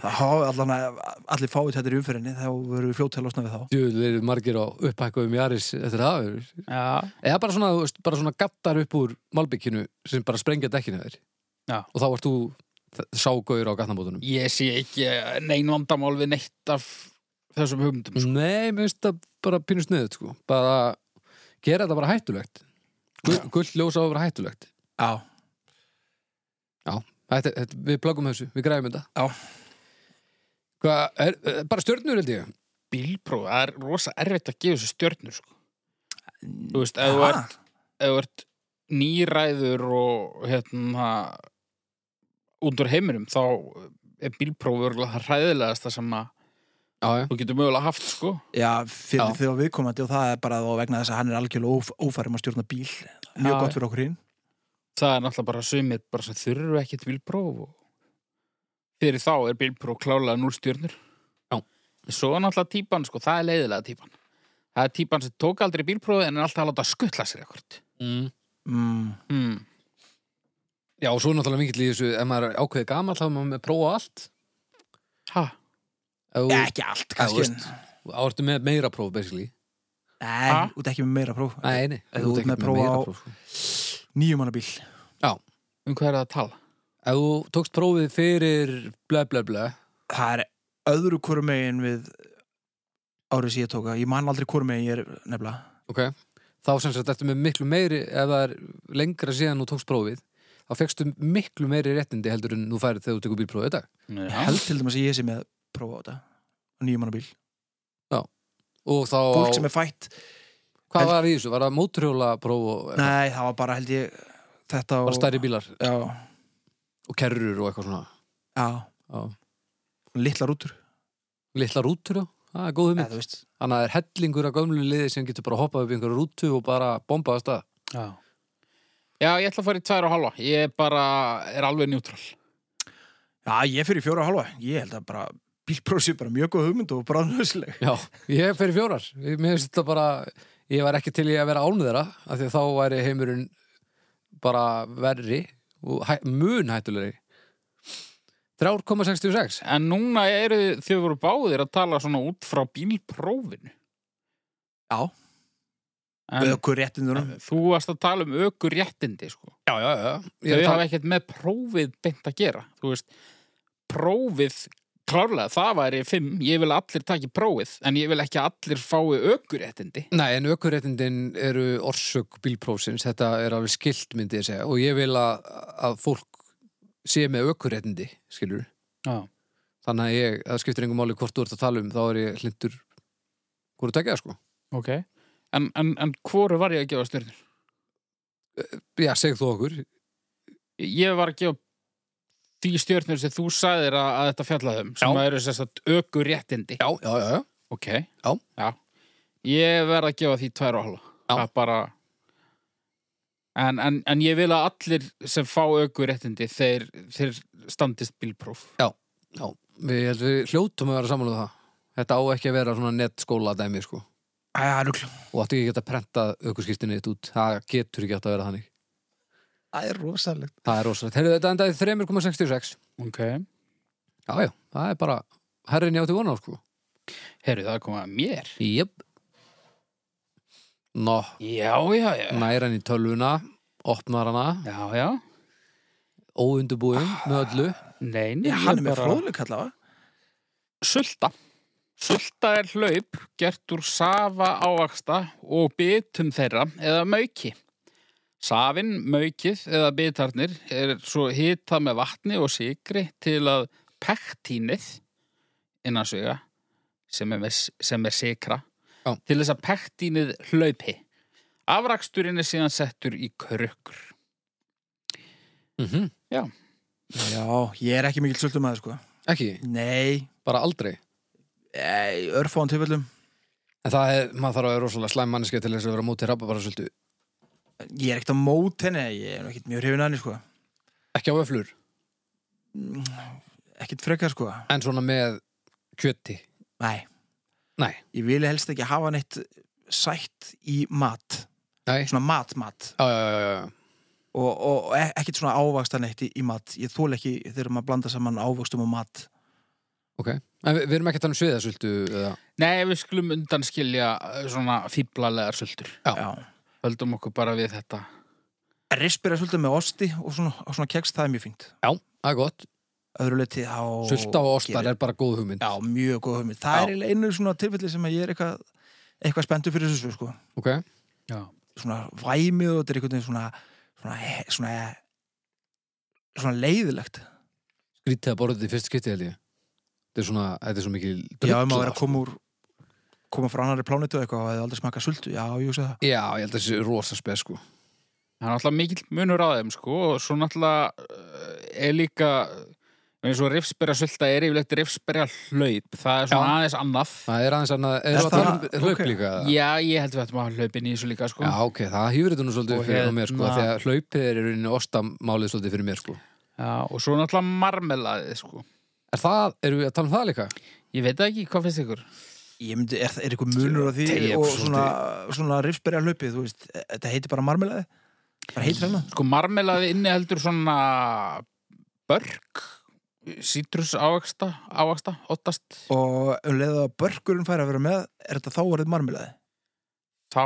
Það hafa allan að allir fáið þetta í umferinni þá verðum við fljótt til að losna við þá
Jöfnvel eru margir á upphækkuðum Jaris eftir það
já,
eða bara svona, þú veist, bara svona gattar upp úr malbygginu sem bara sprengja dekkinu þér
Já.
og þá varst þú þ- sá gaur á gatnabótunum
ég sé ekki nein vandamál við neitt af þessum hugmyndum. sko.
Nei, mér finnst það bara pínu sniðut sko. bara gera þetta bara hættulegt Gull, gull ljósa á að vera hættulegt
Já,
þetta, þetta, Við plöggum þessu, við græfum þetta
Já.
Hva, er, er, Bara stjörnur held ég
Bílpróf, það er rosa erfitt að gefa þessu stjörnur, sko. Þú veist, ef þú
Mm. Ha?
ert, ef þú ert nýræður og hérna undur heiminum, þá er bílpróf örgulega það hræðilegasta sem að
Já, já,
þú getur mögulega haft, sko.
Já, fyrir
Já.
því að viðkomandi og það er bara þá vegna þess að hann er algjörlega óf, ófærum að stjórna bíl mjög
Já.
gott fyrir okkur hinn
það er náttúrulega bara sumir bara sem þurfu ekkert bílpróf og fyrir þá er bílpróf klálega núl stjörnur
Já.
En svo er náttúrulega típan, sko, það er leiðilega típan það er típan sem tók aldrei bílprófi en er alltaf að láta skuttla sér ekkert
mm.
mm.
hmm.
já og svo er náttúrulega mikill í þessu ef maður er ákveðið gamall þá er maður með að prófa allt
ha,
Ef þú-
Já, ekki allt kannski
veist.
en-
þá ertu með meira próf basically
Nei,
Ha?
út ekki með meira próf
Nei, nei, þú
Ef
ert
þú ert
ekki
með próf á-
próf, sko.
Nýjum hana bíl
um hvað er það að tala?
Ef þú tókst prófið fyrir ble ble ble
Það er öðru hvoru megin við árið sem ég tóka Ég man aldrei hvoru megin ég er nefnilega
ok, þá sem sagt ertu með miklu meiri ef það er lengra síðan þú tókst prófið þá fegstu miklu meiri réttindi heldur en þú færið þegar þú tekur bílprófið í dag
Ég held til dæmis að ég sé með prófa á þetta Nýjum hana bíl
og þá,
Fólk sem er fætt
hvað var í þessu? Var það móturhjóla próf og eitthvað?
Nei, það var bara held ég þetta og
bara stærri bílar
Já,
og kerrur og eitthvað svona
já
Já.
Littlar útur
litla rútur já, það er góðum
Eða,
mynd
þú veist
þannig að það er hellingur af gömlu liði sem getur bara hoppað upp í einhverju rútu og bara bombað að stað
Já. já, ég ætla að fara í tvær og halva ég er bara, er alveg njútrál
Já, ég fyrir fjóra og halva. Ég held að bara bílpróf sé bara mjög góð hugmynd og bráðnöðsleg.
já, ég fer í fjórar Ég- mér finnst þetta bara, ég var ekki til í að vera ánum þeirra af því að þá væri heimurinn bara verri og hæ, mun hættulegri 3,66
en núna eru þau voru báðir að tala svona út frá bílprófinu
Já.
en
Ökur réttindunum.
þú varst að tala um ökur réttindi, sko
já, já, já Ég er að
þau hafa
tala-
ekkert með prófið beint að gera þú veist, prófið klárlega, það væri fimm ég vil að allir taki prófið, en ég vil ekki að allir fái aukuréttindi
Nei, en aukurréttindin eru orsök bílprófsins, þetta er alveg skilt myndi ég segja og ég vil að, að fólk sé með aukurréttindi, skilur
já,
þannig að ég, það skiptir engum máli hvort þú ert að tala um þá er ég hlindur hvort að tekja það sko
ok en, en, en hvoru var ég að gefa stjörnur?
Já, segð þú okkur
ég var að gefa því stjörnur sem þú sagðir að, að þetta fjallaðum sem
Já.
eru sérst að aukuréttindi
Já, já, já, já.
ok, ég verð að gefa því tvær og halva
Já.
það er bara en, en, en ég vil að allir sem fá aukuréttindi þeir, þeir standist bílpróf
já. Við, held, við hljótum að vera samanlega það Þetta á ekki að vera svona nettskóla dæmi sko
Æja, rugl.
og áttu ekki að geta prentað aukurskiptinni þitt út það getur ekki átt að vera þannig
Það er rosalegt.
Það er rosalegt, heyrðu þetta endaði í 3,66
ok,
Já, já, það er bara herrin ég átti vona á sko
herru það er komið að mér
Jöp Nó,
já, já, já
næra hann í tölvuna opnar hana,
já, já,
óundubúin með öllu
nei, nei
Já, hann er með fróðleik allavega.
sulta sulta er hlaup gert úr safa ávaksta og bitum þeirra eða mauki safin, maukið eða bitarnir er svo hitað með vatni og sigri til að pektínið innan suga sem er, með, sem er sikra
Já.
til þess að pektínið hlaupi afraksturinn er síðan settur í krukkur
mm
Já, ég er ekki mikil svolítum að það, sko.
Ekki,
Nei,
bara aldrei
ei, örfáðan tilfellum.
En það er, maður þarf að vera rosalega slæm manneska til þess að vera á móti rababarasöldu.
Ég er ekkert á mót henni, ég er nú ekkert mjög hrifin að henni, sko.
Ekki á öflur,
Ekkert frekar, sko.
en svona með kjöti.
Nei,
Nei,
ég vil helst ekki hafa neitt sætt í mat.
nei,
Svona mat-mat.
já, já, já, já, já.
Og, og, og e- ekkert svona ávaksta neitt í, í mat. Ég þól ekki þegar maður blanda saman ávakstum og mat.
ok. En við, við erum ekki að tala um sviðasöldu eða...
Nei, við skulum undanskilja eh, svona fíblalegar söldur.
Já.
Já.
Höldum okkur bara við þetta.
Rispir er svolítið með osti og svona, og svona keks, það er mjög fínt.
Já, það er gott.
Öðru leiti á...
Sulta og ostar er bara góð hugmynd.
Já, mjög góð hugmynd. Það
Já.
er eiginlega einu svona tilfelli sem að ég er eitthvað, eitthvað spenntur fyrir þessu, sko.
Ok,
Já.
svona væmið og þetta er einhvern veginn svona svona, he- svona, svona leiðilegt
skrítið að borða þetta í fyrst skipti held ég. Þetta er svona, þetta er svo mikil
já, ef
sko.
maður er að koma úr koma frá annari plánetu og eitthvað og hefði aldrei smakað sultu, já, ég sé það
Já, ég held að þessi rosa spes sko.
Það er náttúrulega mikill munur á þeim sko og svo náttúrulega uh, er líka eins og rifsberja sulta er yfirlegt rifsberja hlaup það er svona
Já.
aðeins annað
Það er aðeins annað, er
Er
það
það-
að um hlaup
ok.
líka? eða?
Já, ég held við ættum að hafa hlaupin í þessu líka sko
Já, ok, það hýfur þetta nú svolítið
Og
fyrir mér sko,
hérna-
þegar hlaupið er í rauninni ostamálið svolítið fyrir mér sko.
Já, og svo náttúrulega marmelaði sko
Er það, erum við að tala um það líka?
Ég veit það ekki, hvað finnst ykkur?
ég myndi, er, er eitthvað munur á því
Teygjum
og
svolítið.
svona, svona rifsberja hlaupið, þú veist e- þetta heitir bara marmelaði, bara heitir hérna
Sko marmelaði inni heldur svona börk sítrus ávaksta, ávaksta, ottast
og um leiðu að börkurinn fær að vera með er þetta þá orðið marmelaði
þá,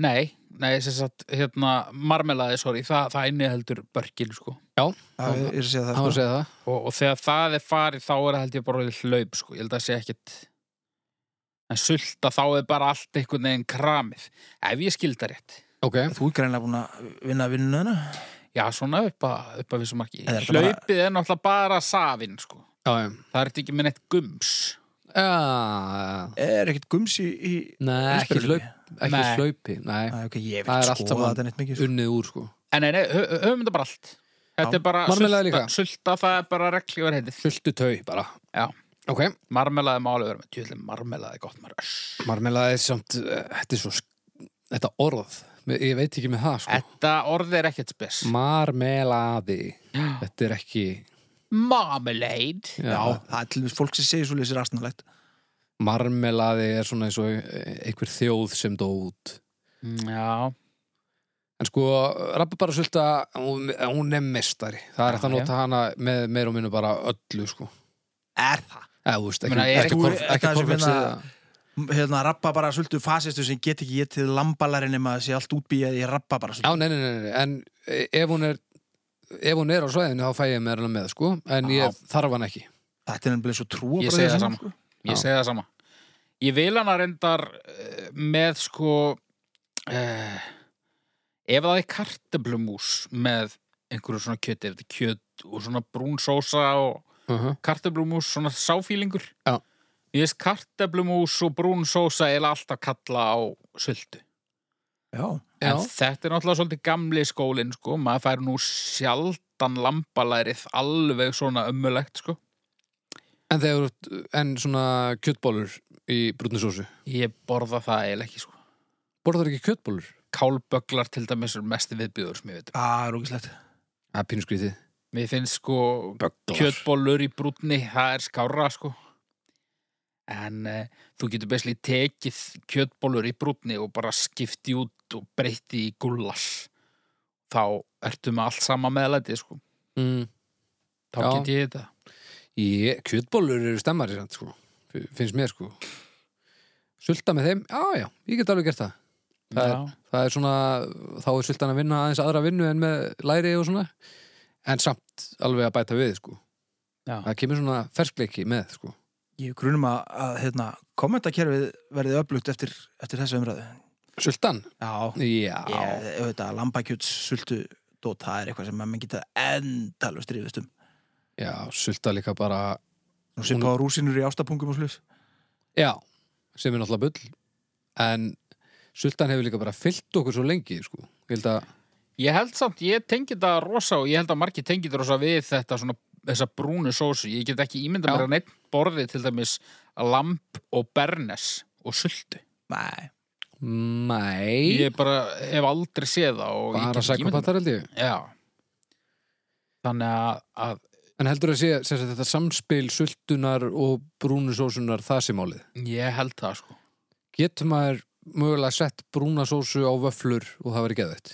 nei, nei, sem sagt hérna marmelaði, sorry, það, það inni heldur börkin sko
það er að segja
Það var
það, sko.
að segja það.
og, og þegar það er farið þá er það held ég bara orðið hlaup sko. ég held að það sé ekkit en sulta þá er bara allt einhvern veginn kramið ef ég skilda rétt
Ok,
sko. þú er greinlega búin að vinna að vinna hana
já svona upp að, upp að vissu marki
En er þetta
hlaupið er náttúrulega bara safin sko.
já, já.
það er ekki með neitt gums
Já,
er ekkert gumsi í
nei, ekki
Rifsberjahlaupi?
hlaup, ekki
Nei.
hlaupi, nei,
Æ, ok, ég
Það
veit
er allt
skoða
saman
þetta neitt mikið sko.
unnið úr sko.
en nei, nei, hö- hö- höfum þetta bara allt þetta
Já.
er bara
Marmelaði
sulta,
líka.
sulta það er bara regli og reyndið
Sultu tau bara.
Já.
Ok,
marmelaði máli verður með tjóðlega marmelaði er gott maður Öss.
marmelaði er samt, eh, þetta er svo, sk- þetta orð, Mér- ég veit ekki með það sko.
þetta orðið er ekkert spes
Mm.
Marmelaði, þetta er ekki,
marmelade
já,
Já, það er til þess fólk sem segir svo leysir astnalegt
marmelaði er svona eins og eh, einhver þjóð sem dó út.
Mm, já
En sko, rababarasulta, hún, hún er mestari. Það er
Já,
hægt að
já.
nota hana með meir og minna bara öllu, sko.
Er það?
Eða, þú veist, ekki,
Meina, er
ekki,
þú-
korf,
er
ekki
það sem
korflexið.
hérna- Hérna, rappa bara sultu fasistu sem get ekki getið lambalari nema að sé allt útbýjað í rappa bara
Já,
sultu
nei, nei, nei, nei, en e- ef hún er, ef hún er á svæðinu, þá fæ ég mér hana með, sko. En
Já.
ég þarf hana ekki.
Þetta er nefnilega svo trúa
Ég segi það sama.
sko.
Ég segi það sama. Ég vil hana reyndar eh, með sko uh, ef það er kartöblumús með einhverju svona kjöti, ef þetta er kjöt og svona brún sósa og
Uh -huh.
kartöblumús, svona sáfílingur.
Já.
Ég veist kartöblumús og brún sósa er alltaf kalla á sultu.
Já,
Já,
En þetta er náttúrulega svolítið gamli skólinn sko, maður fær nú sjaldan lambalærið alveg svona ömmulegt sko.
en þegar, þú ert- en svona kjötbólur í brúnisósu.
Ég borða það eiginlega ekki sko.
Borðar ekki kjötbólur?
kálbögglar til dæmis er mest viðbjöður sem ég veit um.
það er ógislegt
Það er pínusgrítið.
Mér finnst sko
Bögglar.
kjötbólur í brúnni, það er skárra sko. En eh, þú getur bestlið tekið kjötbólur í brúnni og bara skipti út og breyti í gullas. Þá ertu með allt sama meðlætið sko.
Mm.
Þá
Já.
get ég þetta.
Ég, kjötbólur eru stemmari samt, sko. F- finnst mér sko sulta með þeim, já já, ég get alveg gert það Það er-
Já.
það er svona, þá er sultan að vinna aðeins aðra vinnu en með læri og svona en samt alveg að bæta við sko
Já.
það kemur svona ferskleiki með sko
Ég grunum að, að hérna, kommentakerfið verði öflugt eftir, eftir þessu umræðu
sultan,
Já,
já
ég, auðvitað, lambakjöts sultu dót, það er eitthvað sem maður geta endalveg stríðust um
já, sulta líka bara
Nú sem á rúsinur í ástapungum og slus
já, sem er náttúrulega bull en sultan hefur líka bara fyllt okkur svo lengi sko ég held að,
Ég held samt, ég tengi þetta rosa og ég held að margir tengi þetta rosa við þetta svona, þessa brúnu sósu. Ég get ekki ímynda
Já.
mér að neitt borði til dæmis lamp og bernes og sultu.
Nei,
Nei,
Ég bara hef aldrei séð það og
bara
ég get ekki ímyndað mér.
sækupatar held ég.
Já. Þannig að, að
En heldur að sé sem sagt, þetta samspil sultunar og brúnusósunar það sem málið.
ég held það sko.
Getur maður mögulega sett brúnasósu á vöflur og það verið geðvægt?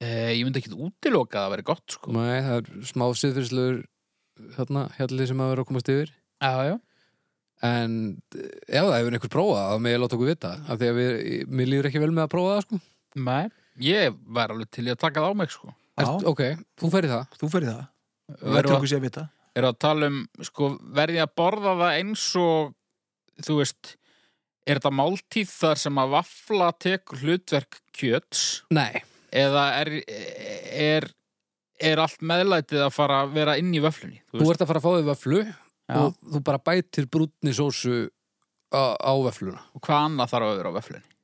E, ég myndi ekki útiloka að það veri gott sko.
Nei, það er smá siðfyrsluður hérna, hérna sem að vera að komast yfir.
Já, já.
En eh, ef það hefur einhver prófað, þá með ég láta okkur vita. Af því að við, mér líður ekki vel með að prófa það, sko.
Nei. Ég var alveg til í að taka það á mig sko.
Já.
Ert, ok, þú ferði það.
þú fyrir það.
Verður
Verður okkur sé að vita.
er að tala um sko, verði að borða það eins og þú veist er þetta máltíð þar sem að vafla tekur hlutverk kjöts
Nei,
eða er, er, er allt meðlætið að fara að vera inn í vöflunni þú
þú
veist?
ert að fara að fá því vöflu
Já.
og þú bara bætir brúnni sósu á, á vöfluna.
og hvað annað þarf að vera á vöflunni?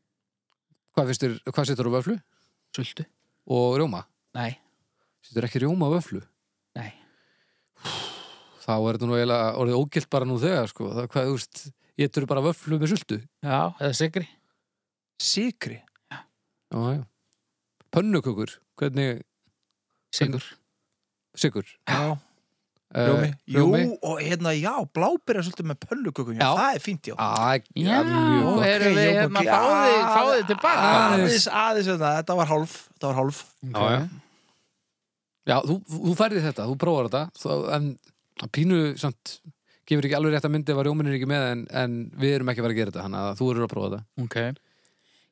Hvað, finnst þér- hvað setur á vöflu?
Sultu?
Og rjóma?
Nei,
Setur ekki rjóma á vöflu?
nei
Þá er þetta nú eiginlega orðið ógilt bara nú þegar, sko. Það, hvað, þú veist, ég getur bara vöflu með sultu.
Já, eða sigri
Sikri.
Já, já. Pönnukökur, hvernig
Sigur
Sigur
Já,
Eh,
rjómi. Jú,
Rjómi
og hérna, já, blábyrja svolítið með pönnukökum. Já,
Já.
það er fínt, já.
Æ,
Já,
mjög gott.
er- Ok,
erum við
já,
hérna
ok.
fáði,
Ah,
fáði tilbaka
aðeins.
Aðeins, aðeins, hérna, þetta var hálf. Þetta var hálf.
Já, já. Já, þú, þú færði þetta, þú prófar þetta þú, en að pínu samt gefur ekki alveg rétt að myndi ef að rjómin er ekki með en, en við erum ekki að vera að gera þetta þannig að þú eru að prófa þetta
Ok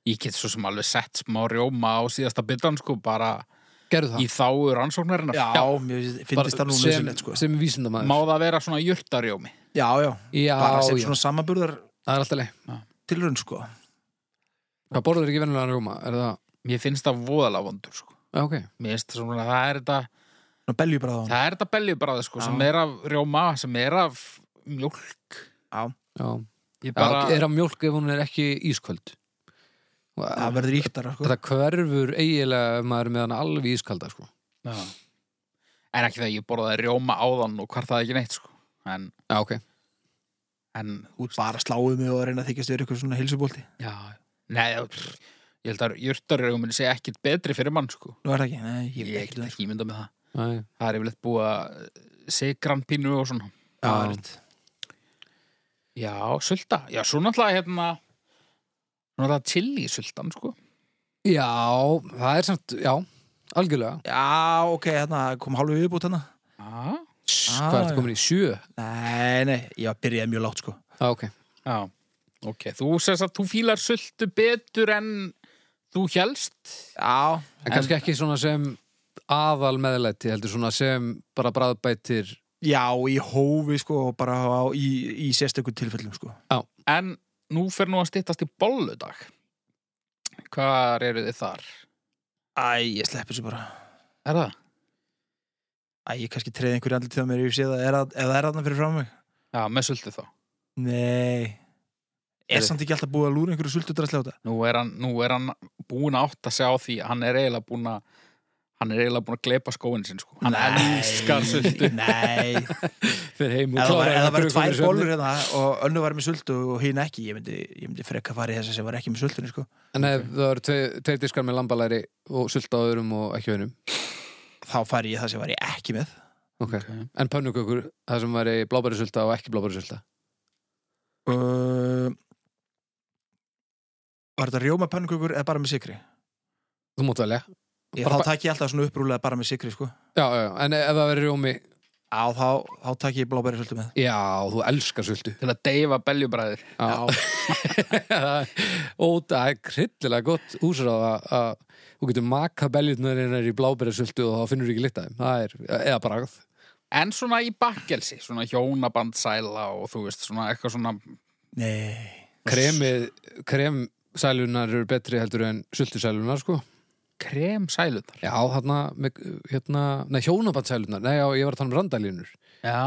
Ég get svo sem alveg sett smá rjóma á síðasta bitan sko bara
Gerðu það
í þáu rannsóknarinnar
Já, mér finnst- finnst það
Bara
nú
sem,
nöðsynlegt, sko.
sem vísindamæður
Má það vera svona jurtarjómi?
Já, já,
Já,
bara sem
já,
svona samanburðar
það er alltaf leið
tilraun, sko.
Hvað borður ekki venjulega rjóma? Er það,
Mér finnst það voðalega vondur sko.
já, ok
Mér finnst það svona, það er þetta
Svona beljubræðan.
það er þetta beljubræði sko,
Já.
sem er af rjóma, sem er af mjólk
Já,
Ég
bara...
bara,
er að mjólk ef hún er ekki ísköld
Það
Og-
verður íktara, sko.
Þetta hverfur eiginlega ef maður er með hann alveg ískalda sko.
já. En ekki það ég borðaði rjóma áðan og hvar það ekki neitt sko. en,
Já, ok
en
Út bara sláðu mig og reyna að þykjast verið eitthvað svona hilsubólti.
já, nei, pff, ég held að jurtarjómin sé ekkit betri fyrir mann sko.
Nú er það sko. ekki, nei, ég
Ég
veit
get
ekki.
ekki ímynda með það
Æ.
Það er yfirleitt búið að sigran pínu og svona
Já.
Já, rétt.
Já, sulta, já, svo náttúrulega hérna Nú er það chili sultan, sko
Já, það er samt, já, algjörlega
Já, ok, hérna kom hálfu viðbútt hérna
Já,
Sss,
Ah,
Hvað er
já.
þetta komin í? Sjö?
Nei, nei, ég var byrjaði mjög látt sko
Já, ok
Já, ok, þú sérst að þú fílar sultu betur en þú hélst
Já
En kannski ekki svona sem aðal meðlæti, heldur svona sem bara bræðbætir
Já, í hófi sko og bara á, í, í sérstöku tilfellum sko
En nú fer nú að styttast í bolludag Hvar eru þið þar?
Æ, ég sleppi þessu bara
Er það?
Æ, ég kannski treði einhverju andli til að mér ef ég sé það er að, eða er þarna fyrir frá mig
Já, með sultu þá
Nei Er
Heyrðu.
samt ekki alltaf búið að lúra einhverju sultudrasli á þetta?
Nú er hann, nú er hann búin að átta sig á því að Hann er eiginlega búin að Hann er eiginlega búin að gleipa skóin sinn, sko Hann
Nei,
elskar sultu
Nei,
fyrir heim
eða var, eða var tvær bollur hérna og önnu var með sultu og hinn ekki Ég myndi, ég myndi frekka farið þess að sem var ekki með sultunni sko
En ef það eru tve- tveir diskar með lambalæri og sulta á öðrum og ekki önum
Þá farið ég það sem var ég ekki með
okay. En pönnukökur, það sem væri blábæri sulta og ekki blábæri sulta
Uh, var þetta rjóma pönnukökur eða bara með sikri?
Þú mátt velja
Ég,
Bara
þá takk ég alltaf svona upprúlega bara með sikri sko.
Já, já, já, en ef það veri rjómi
Á þá, þá takk ég blábæri svolítið með
Já, þú elskar sultu
Til að deyfa beljubræður
Já (laughs) Og það er kryllilega gott úsráð að- að þú getur maka beljutnarinnar í blábærasultu og þá finnur þú ekki lit af þeim Það er, eða bragð
En svona í bakkelsi, svona hjónabandsæla og þú veist, svona eitthvað svona
Nei,
Kremið, kremsælunar eru betri heldur en sultusælunar sko
kremsælunar
Já, þarna, með- hérna, nei, hjónabandsælunar Nei, já, ég var að tala um randalínur
Já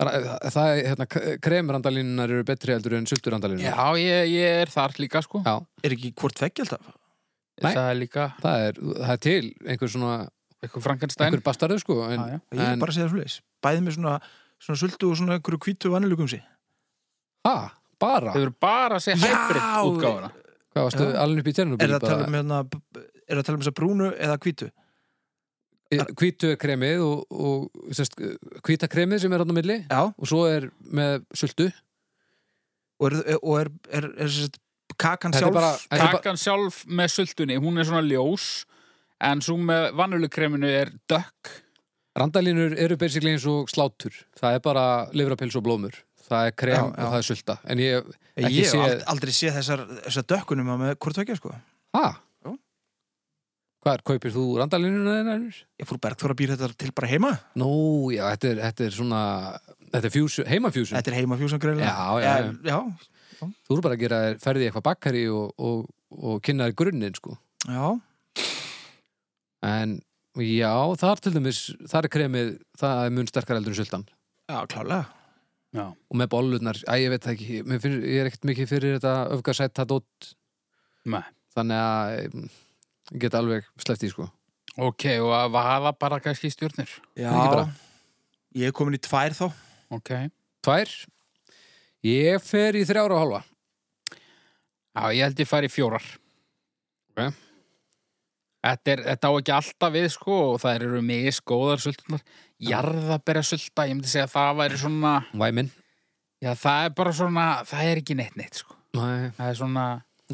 Ra- Það er, hérna, kremrandalínunar eru betri heldur en sulturandalínunar
Já, ég, ég er þar líka sko
Já.
er ekki hvort veggi alltaf?
Nei.
Það er líka
Það er, það er til einhver svona,
eitthvað Frankenstein
einhver bastarðu sko en,
Já, já.
Ég er
En-
bara að segja það svoleiðis Bæði með svona, svona sultu og svona einhverju hvítu vanilugum sig
Ha, bara?
Þau eru bara að segja
Já!
hybrid útgáfuna
Hvað varstu
Já.
alveg upp í tenninu?
Er það að tala um hérna Er það að tala um þess að brúnu eða hvítu?
Hvítu er kremið Eh, og, og sest, hvíta kremið sem er hann á milli
Já
og svo er með sultu
Og er, og er, er, er, er sérst, kakan
Þetta er
sjálf
bara, þetta er bara
Kakan sjálf með sultunni, hún er svona ljós En svo með vannulegreminu er dökk
randalínur eru basically eins og slátur það er bara livrapils og blómur það er krem
Já, já.
og það er sulta en ég, ekki
Ég hef
séð-
ald- aldrei séð þessar, þessar dökkunum með hvort tvekja sko
ha?
Jú.
Hvað er, kaupir þú randalínuna þennar?
Ég fór Bergþóra býr þetta til bara heima
Nú, já, þetta er, þetta er svona þetta er fusion, heimafjúsun
Þetta er heimafjúsan greinlega
Já, já, já.
já,
þú eru bara að gera þér- ferð í eitthvað bakkari og, og, og kynna þér grunninn sko
já.
en já, þar til dæmis þar er kremið, það er mun sterkar eldur en sultan
já klálega
Já,
og með bollurnar, að ég veit það ekki mér finn, ég er ekkert mikið fyrir þetta öfgasætt það dótt
með
þannig að em, ég get alveg sleppt í sko
Ok, og að vaða bara kannski stjórnir
Já,
ekki bara?
ég er komin í tvær þá
Ok Já,
tvær, ég fer í þrjára og halva
ég held ég fari í fjórar
Ok.
Þetta, er, þetta á ekki alltaf við sko og það eru misgóðar sultunar Jarðaberja sulta, ég myndi segja að það væri svona
væmin,
Já, það er bara svona, það er ekki neitt neitt sko
Nei,
Það er svona,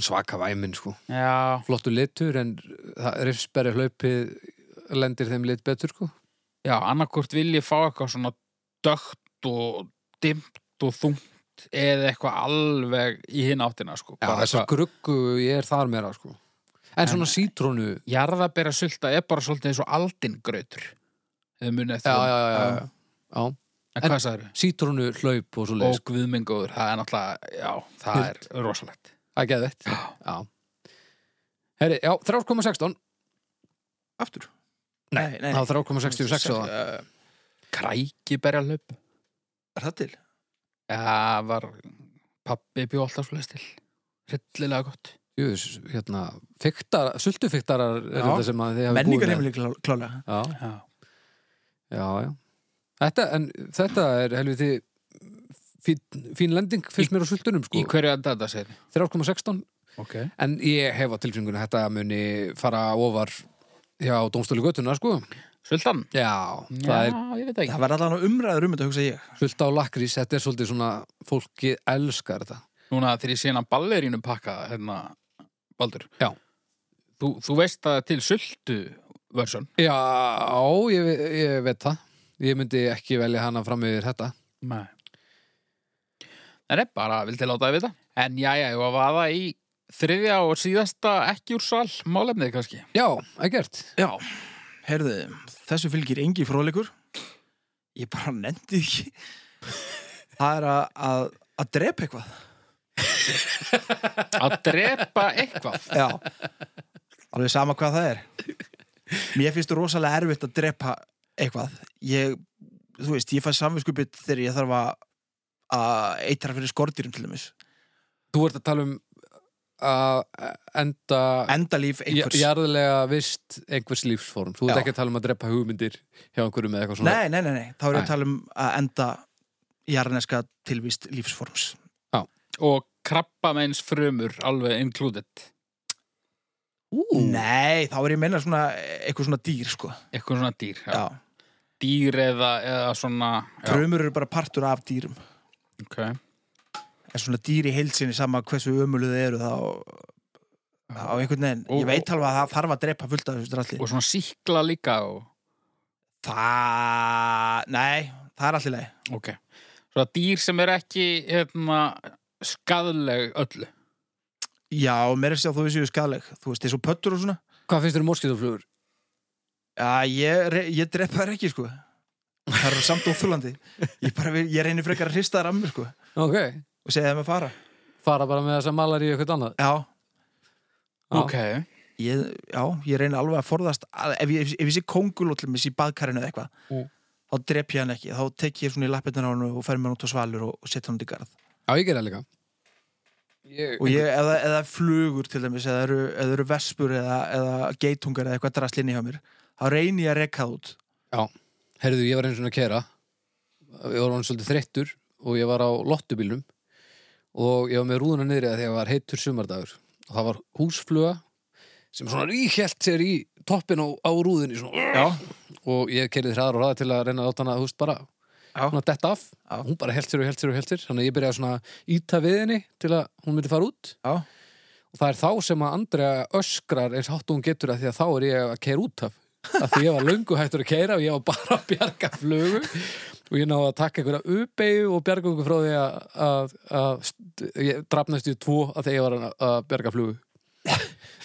svaka væmin sko
já
flottu litur en það rifsberri hlaupið lendir þeim lit betur sko
Já, annarkvort vil ég fá eitthvað svona dögt og dimmt og þungt eða eitthvað alveg í hinn áttina, sko.
Já,
Bara
þessar
eitthvað-
gruggu, ég er þar meira sko en svona sítrónu já,
Jarðabera sulta er bara svolítið eins og aldingrautur. Eða munið eftir.
já, já,
honum.
já, já. já.
En
En-
hvað sagður?
sítrónu hlaup og svo
Og
leið sko.
guðmengóður, það er náttúrulega, já, það er rosalegt.
það geði veitt já. Herri, já, 3,16
Aftur Nei, nei,
það var 3,66 á það
Eh,
Krækiberja hlaup.
Er það til?
Já, var pappi bjó alltaf svolítið til. Hryllilega gott.
Jú, s- hérna, fiktar, sultufyktarar er
Já.
þetta sem að þið hafa
Menningarheimili klá- klálega
Já,
Já.
já, já. Þetta, en þetta er helviti fín, fín lending fyrst mér á sultunum, sko.
Í hverju að þetta segir þið?
3,16.
Ok.
En ég hef á tilfengunum að þetta muni fara ofar hjá dómstóli götuna, sko.
Sultan?
Já,
Já,
það er
ég veit það ekki.
Það verður allan umræður um þetta hugsa ég
sulta á lakrís. Þetta er svolítið svona, fólki elskar þetta.
Núna þegar ég sé hennan ballerínu pakka hérna, Baldur
Já.
Þú, þú veist að til sultu versjón
Já, ég, ve- ég veit það. Ég myndi ekki velja hana fram yfir þetta.
Nei Það er bara, vildi láta það vita En já, já, ég var að vaða í þriðja og síðasta ekki úr sal málefnið kannski
Já, ekkert.
Já, heyrðu, þessu fylgir engi fróðleikur Ég bara nefndi ekki Það er að, að, að drepa eitthvað
Að drepa eitthvað
Já, (laughs) alveg sama hvað það er Mér finnst þú rosalega erfitt að drepa eitthvað Ég, þú veist, ég fæ samvinskupið þegar ég þarf að að eitra fyrir skordýrum til dæmis
Þú ert að tala um að enda
Endalíf
ja-
einhvers
jarðlega vist einhvers lífsform. Þú ert
Já.
ekki að tala um að drepa hugmyndir hjá einhverjum eða eitthvað svona.
Nei, nei, nei, nei, þá er ég
Nei.
að tala um að enda jarðneska tilvist lífsforms
Og krabba meins frumur alveg included
Ú,
Nei, þá er ég að meina svona eitthvað svona dýr, sko
Eitthvað svona dýr já.
Já.
Dýr eða, eða svona já,
Frumur eru bara partur af dýrum
ok.
En svona dýr í heilsinni sama hversu ömuluð þið eru þá á einhvern veginn,
Og-
ég veit alveg að það þarf að drepa fullt af þessu drasli
Og svona síkla líka og,
Það, nei, það er allir leið
Ok. Svona dýr sem er ekki hérna, skadleg öllu.
Já, mér er sér að þú séu skadleg Þú veist, þessu pöttur og svona
Hvað finnst þér um morskituflugur?
Já, ég, re- ég drepa þær ekki, sko Það eru samt óþúlandi Ég, bara, vil- ég reynir frekar að hrista þær af mér, sko
Ok,
og segja þeim að fara
fara bara með þess að malar í eitthvað annað.
Já,
Já.
ég, já, ég reynir alveg að forðast að, ef, ég, ef ég sé kongulótlumis í baðkarinu eða eitthvað
Mm.
þá drep ég hann ekki, þá tek ég svona í lappirnar á hann og fer mér út á svalur og, og setja hann út í garð
Já, ég gera líka. Ég,
og ég, eða, eða flugur til dæmis eða eru, eða eru vespur eða, eða geitungar eða eitthvað drast inn í hjá mér þá reynir ég að rekka það út
Herðu, ég var eins og að kera. Ég var hann svolítið þreyttur og ég var á lottubílnum og ég var með rúðuna niðri að því að það var heitur sumardagur og það var húsfluga sem svona ríkjælt sér í toppin á, á rúðinni svona,
Já,
og ég kerði hraðar og hraðar til að reyna að láta hana húst bara
Já.
svona detta af
Já.
hún bara held sér og held sér og held sér þannig að ég byrjaði svona að íta við henni til að hún myndi fara út
já,
og það er þá sem að Andrea öskrar eins hátt og hún getur að því að þá er ég að keira út af að því ég var löngu hættur að keira og ég var bara að bjarga flugu og ég náði að taka einhverja uppeyju og bjarga okkur frá því að, að, að st- ég drafnast í tvo að því ég var að- að bjarga flugu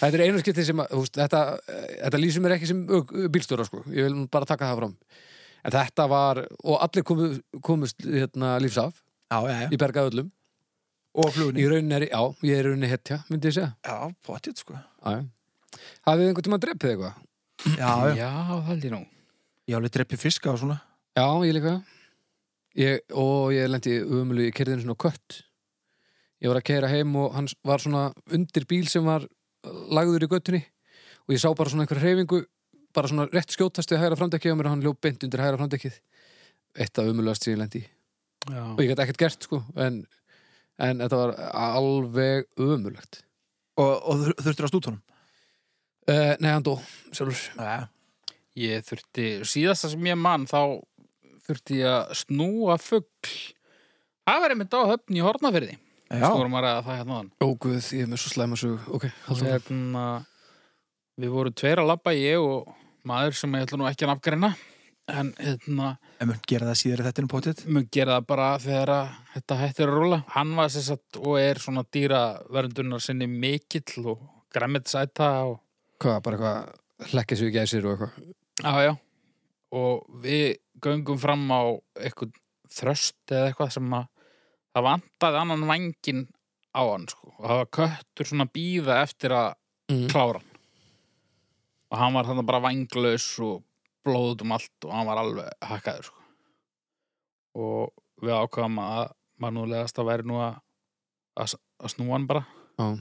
Þetta er einu skipti sem að, þú veist, þetta, þetta lýsir mér ekki sem ök- bílstjóra sko, ég vil nú bara taka það fram en þetta var, og allir komu, komust hérna, lífs af,
já, já, já.
ég bjargaði öllum
Og flugunni
í rauninni er, já, ég er í rauninni hetja myndi ég segja
Já, potið sko
Æ. Hafið þið einhvern tímann drepið eitthvað?
Já, já,
Já, það held ég nú.
ég alveg dreppi fiska og svona
Já, ég líka. Ég, og ég lendi umlu í kerðinu svona kött. Ég var að keira heim og hann var svona undir bíl sem var lagður í göttunni og ég sá bara svona einhver hreyfingu, bara svona rétt skjótast við hægra framdekkið á mér og hann ljóp beint undir hægra framdekkið. Eitt af umluast sem ég lendi í. Og
Já.
ég gæti ekkert gert sko, en, en þetta var alveg umulagt.
Og, og þur- þurftir að stúta honum
Uh, nei, hann dó, sjálfur.
Já,
Ég þurfti, síðasta sem ég mann, þá þurfti ég að snúa fugl. Það var einmitt á höfn í Hornafyrði.
já,
Snúrum að ræða það hérna þann.
Ó, guð, ég er með svo slæma sög. Ok, eh, haldum það.
Hérna, við vorum tveir að labba, ég og maður sem ég ætla nú ekki að nafngreina. En hérna,
en mun gera það síðar í þetta en potið
mun gera það bara þegar að þetta hættir að rúla. Hann var sér satt og er svona dýraverndunar sinni mikill og græmitsæta og
Hvað, bara eitthvað hlekkja sig í gæsir og eitthvað
Já, já. Og við göngum fram á eitthvað þröst eða eitthvað sem að það vantaði annan vangin á hann, sko. Og það var köttur svona býða eftir að
Mm.
klára hann. Og hann var þannig bara vanglaus og blóðut um allt og hann var alveg hakkaður, sko. Og við ákvaðum að mannúlegast að væri nú að, að, að snúa hann bara.
Já.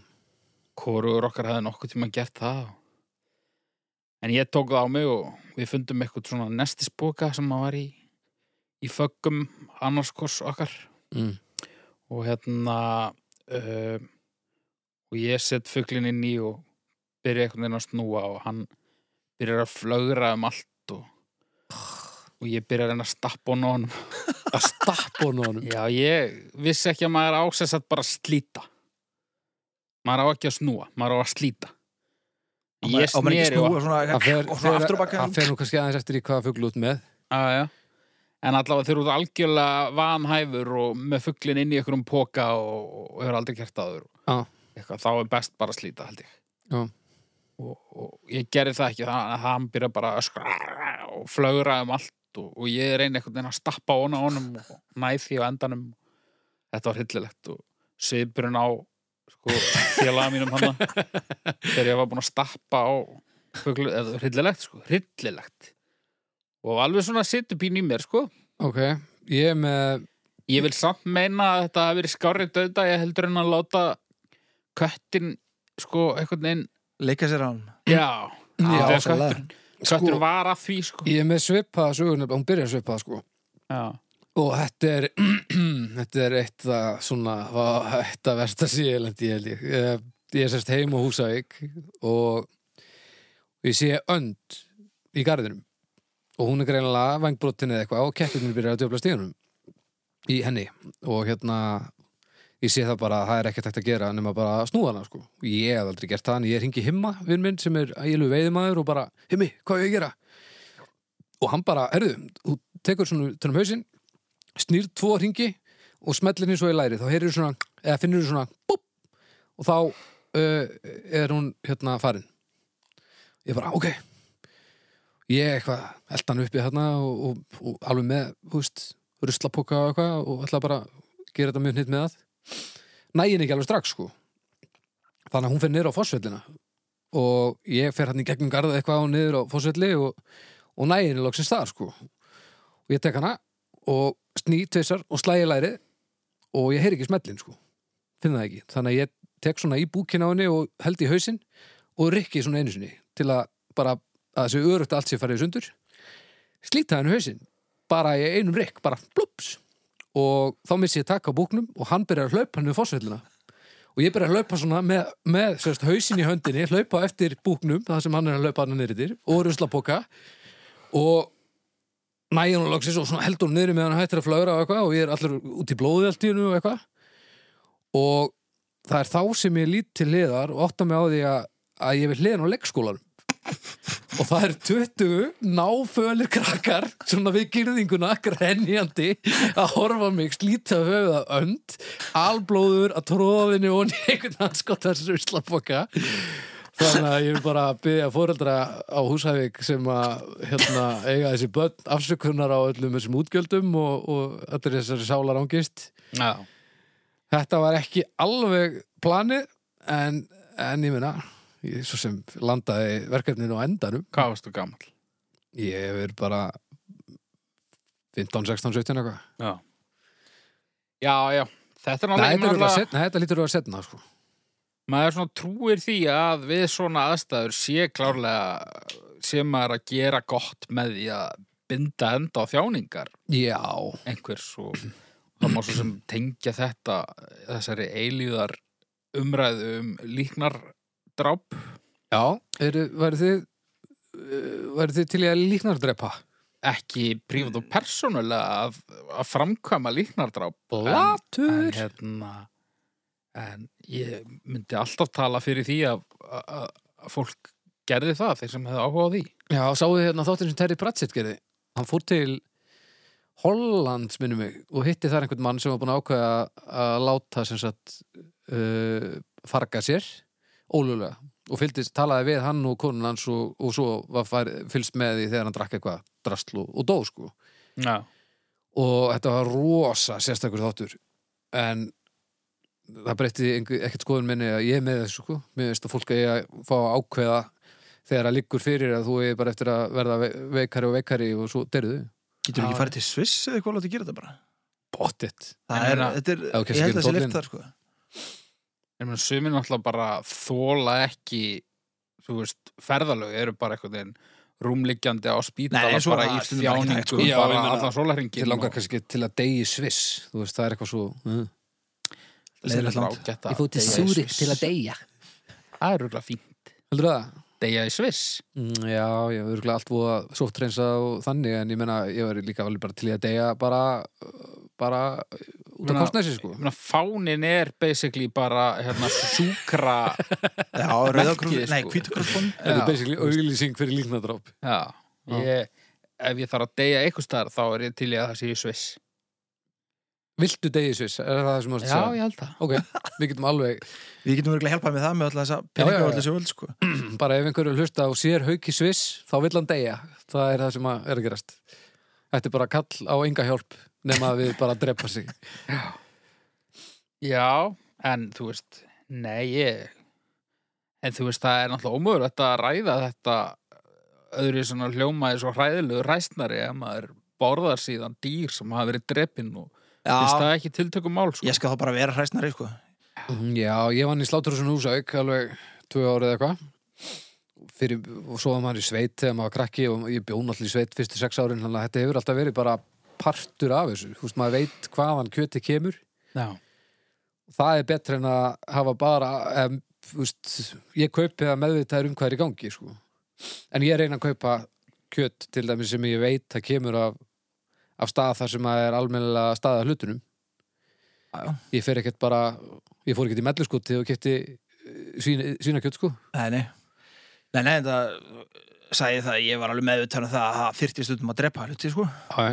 Hvorugur okkar hefði nokkuð tíma gert það og En ég tók það á mig og við fundum eitthvað svona nestisboka sem að var í, í föggum annarskors okkar
mm.
og hérna uh, og ég set fugglin inn í og byrja einhvern veginn að snúa og hann byrjar að flögra um allt og, og ég byrja að reyna að stappa honum á honum.
Að stappa honum á honum
Já, ég vissi ekki að maður ásess að bara slíta. Maður á ekki að snúa, maður á að slíta.
Og
Ég
maður- og maður ekki
sneri og
snúa um svona
Það fer,
og
fer-
svona aftur og baka
það fer nú kannski aðeins eftir í hvaða fuglu út með
Já, já. En allavega þeir eru út algjörlega vanhæfur og með fugglin inn í einhverjum póka og, og hefur aldrei kert aður.
Já.
Eitthvað, þá er best bara að slíta, held ég.
Já.
Og, og ég gerði það ekki, þannig að hann byrja bara að öskra og flögra um allt og, og ég reyni einhvern veginn að stappa hona honum og næð því á endanum. Þetta var hryllilegt og svipurinn á sko, félaga mínum hann
(laughs)
þegar ég var búinn að stappa á fuglu, eða hryllilegt sko, hryllilegt og alveg svona situr pínu í mér sko
Ok, ég er með
ég vil samt meina að þetta hafi verið skárri döðda ég heldur en að láta köttin sko einhvern veginn
Leika sér á hann
já,
Já,
já
sannlega.
köttur, köttur
Sko-
var að því sko
Ég er með svipaða sögurna, hún byrjar svipaða sko
já,
Og þetta er (clears throat) Þetta er eitt að svona vá, Þetta versta síðilendi ég held ég Ég, ég er sérst heim á Húsavík Og ég sé önd í garðinum Og hún er greinlega vangbrotin eða eitthvað Og kettirnir byrjar að döfla stíðunum Í henni Og hérna Ég sé það bara að það er ekkert hægt að gera nema bara að snúa hana sko. Ég hef aldrei gert það en ég hringi himma vinn minn sem er ægilu veiðimaður og bara himmi, hvað á ég að gera? Og hann bara, herðu, þú tekur svona tönum hausinn snýr tvo ringi og smellir henni svo í læri þá heyrir svona, eða finnur svona búp, og þá uh, er hún hérna farin ég bara, ok ég eitthvað, elda hann uppi hérna og, og, og alveg með, þú veist ruslapoka og eitthvað og ætla bara að gera þetta mjög hnitt með það nægin ekki alveg strax sko þannig að hún fer niður á fósvellina og ég fer hann í gegnum garða eitthvað og niður á fósvelli og, og nægin er loksins þar sko og ég tek hana og sný tvisar og slæ í lærið og ég heyr ekki smellin sko finn það ekki, þannig að ég tek svona í búkin á henni og held í hausinn og rikki svona einu sinni til að bara að þessi örugt allt sér farið sundur slíta henni hausinn bara í einum rikk, bara blups og þá missi ég takk á búknum og hann byrjar að hlaupa hann við fósveillina og ég byrjar að hlaupa svona með, með sérst, hausin í höndinni, hlaupa eftir búknum það sem hann er að hlaupa hann neyritir og ruslapoka og næja hún loksins og svona heldur hún niður meðan hann hættir að flögra og eitthvað og ég er allur út í blóði allt í hennu og eitthvað og það er þá sem ég lít til hliðar og átta mig á því að, að ég vil hliðin á leggskólanum og það er 20 náfölir krakkar svona við gyrðinguna grenjandi að horfa á mig slíta höfuða önd alblóður að tróðinu og einhvern anskotar ruslapoka þannig að ég vil bara byggja fóreldra á Húsævík sem að hérna, eiga þessi börn afsökunar á öllum þessum útgjöldum og, og þetta er þessari sálar ángist
Já.
þetta var ekki alveg planið en, en ég meina ég svo sem landaði verkefninu á endanum
Hvað varstu gamall?
Ég er bara 15, 16, 17 eitthvað.
Já. Já, já. Þetta
Nei,
er
þetta,
náttúrulega...
er örugglega seinna- nei, þetta lítur að vera setna, sko.
maður svona trúir því að við svona aðstæður sé klárlega sé maður að gera gott með því að binda enda á þjáningar
Já,
einhvers og það má svo sem tengja þetta þessari eilíðar umræðu um líknar dráp
já, eru, væri þið, væri þið til í að líknardrepa?
ekki prífð og persónulega að, að framkvæma líknardráp en
Latur!
hérna en ég myndi alltaf tala fyrir því að, að, að fólk gerði það þeir sem hefði áhuga á því
Já, sáðu þið hérna þáttir sem Terry Pratchett gerði. Hann fór til Hollands, minnum mig, og hitti þar einhvern mann sem var búin að ákveða að láta sem sagt uh, farga sér, ólulega, og fylgdist, talaði við hann og konun hans og, og svo var fær, fylgst með því þegar hann drakk eitthvað drastl og, og dó, sko.
Já.
og þetta var rosa sérstakur þáttur en það breytti engu- ekkert skoðun minni að ég er með þessu sko mér veist að fólk eigi að fá að ákveða þegar að liggur fyrir að þú er bara eftir að verða ve- veikari og veikari og svo derðu
Getur
Já.
ekki farið til Sviss eða eitthvað að láta gera þetta bara?
bóttið
Það
En
er,
hérna-
þetta er,
Já, ok,
ég held
skil
að sé
tónlinn.
lift þar sko.
En mér sumin alltaf bara þóla ekki, þú veist, ferðalög eru bara eitthvað en rúmliggjandi á spítala
Nei, en svo
bara
það
í
er stundum ekki hægt,
þjáningu,
sko.
Já,
bara
ég meina,
allan
til
sólarhringin
langar kannski til að degi sviss þú veist það er eitthvað svo mm. uh.
leiðilegt land.
ágætt að deyja í Sviss.
deyja
Það er rúglega fín.
heldur það?
Deyja í Sviss.
Mm, Já, ég hef örgulega allt voða sóttrensa og þannig en ég menna ég var líka alveg bara til í að deyja bara, bara út af
Meina-
kostnæsi sko
Ég meina, fánin er basically bara hérna, súkra,
(laughs)
Já, rauðakrús,
Merkið,
nei,
sko.
hvítakrúsbón
Þetta
Já.
er basically auglýsing fyrir líknadróp
já, ég, ef ég þarf að deyja eitthvað staðar þá er ég til ég að það sé í Sviss.
Viltu degi sviss, er það það sem þú ert að
Já,
segja?
ég held það.
Ok, við getum alveg
Við getum verið að hjálpa með það með alltaf þess að
Já, já,
peninga
já.
og alltaf þessu völd sko.
bara ef einhverju hlusta og sér hauki sviss þá vill hann deyja, það er það sem að er að gerast Þetta er bara kall á enga hjálp nema að við bara drepa sig
Já, en þú veist, nei, ég, en þú veist, það er náttúrulega ómögulegt að ræða þetta eh, öðru svona hljómaði svo hræðilegu ræstnari ef maður borðar síðan dýr sem hafa verið drepinn og finnst
Já,
það ekki tiltökum mál, sko.
ég skal þá bara vera hræsnari sko.
Mhm, Já, ég vann í sláturhúsinu húsauk alveg tvö árið eitthvað fyrir, og svo var maður í sveit þegar maður var krakki og ég bjón allir í sveit fyrstu sex árin þannig að þetta hefur alltaf verið bara partur af þessu, þú veist maður veit hvaðan kjöti kemur
Já,
það er betra en að hafa bara em, þú veist, ég kaupi það meðvitaður um hvað er í gangi sko. en ég reyna að kaupa kjött til dæmis sem ég veit að kemur af, af stað þar sem að er almennilega staða hlutunum
Já, já.
ég fer ekkert bara ég fór ekkert í melluskoti og kefti sína, sína kjött sko
Nei, nei Nei, nei, þetta sagði það að ég var alveg meðutæðan það að það þyrfti stundum að drepa hluti sko.
Æ.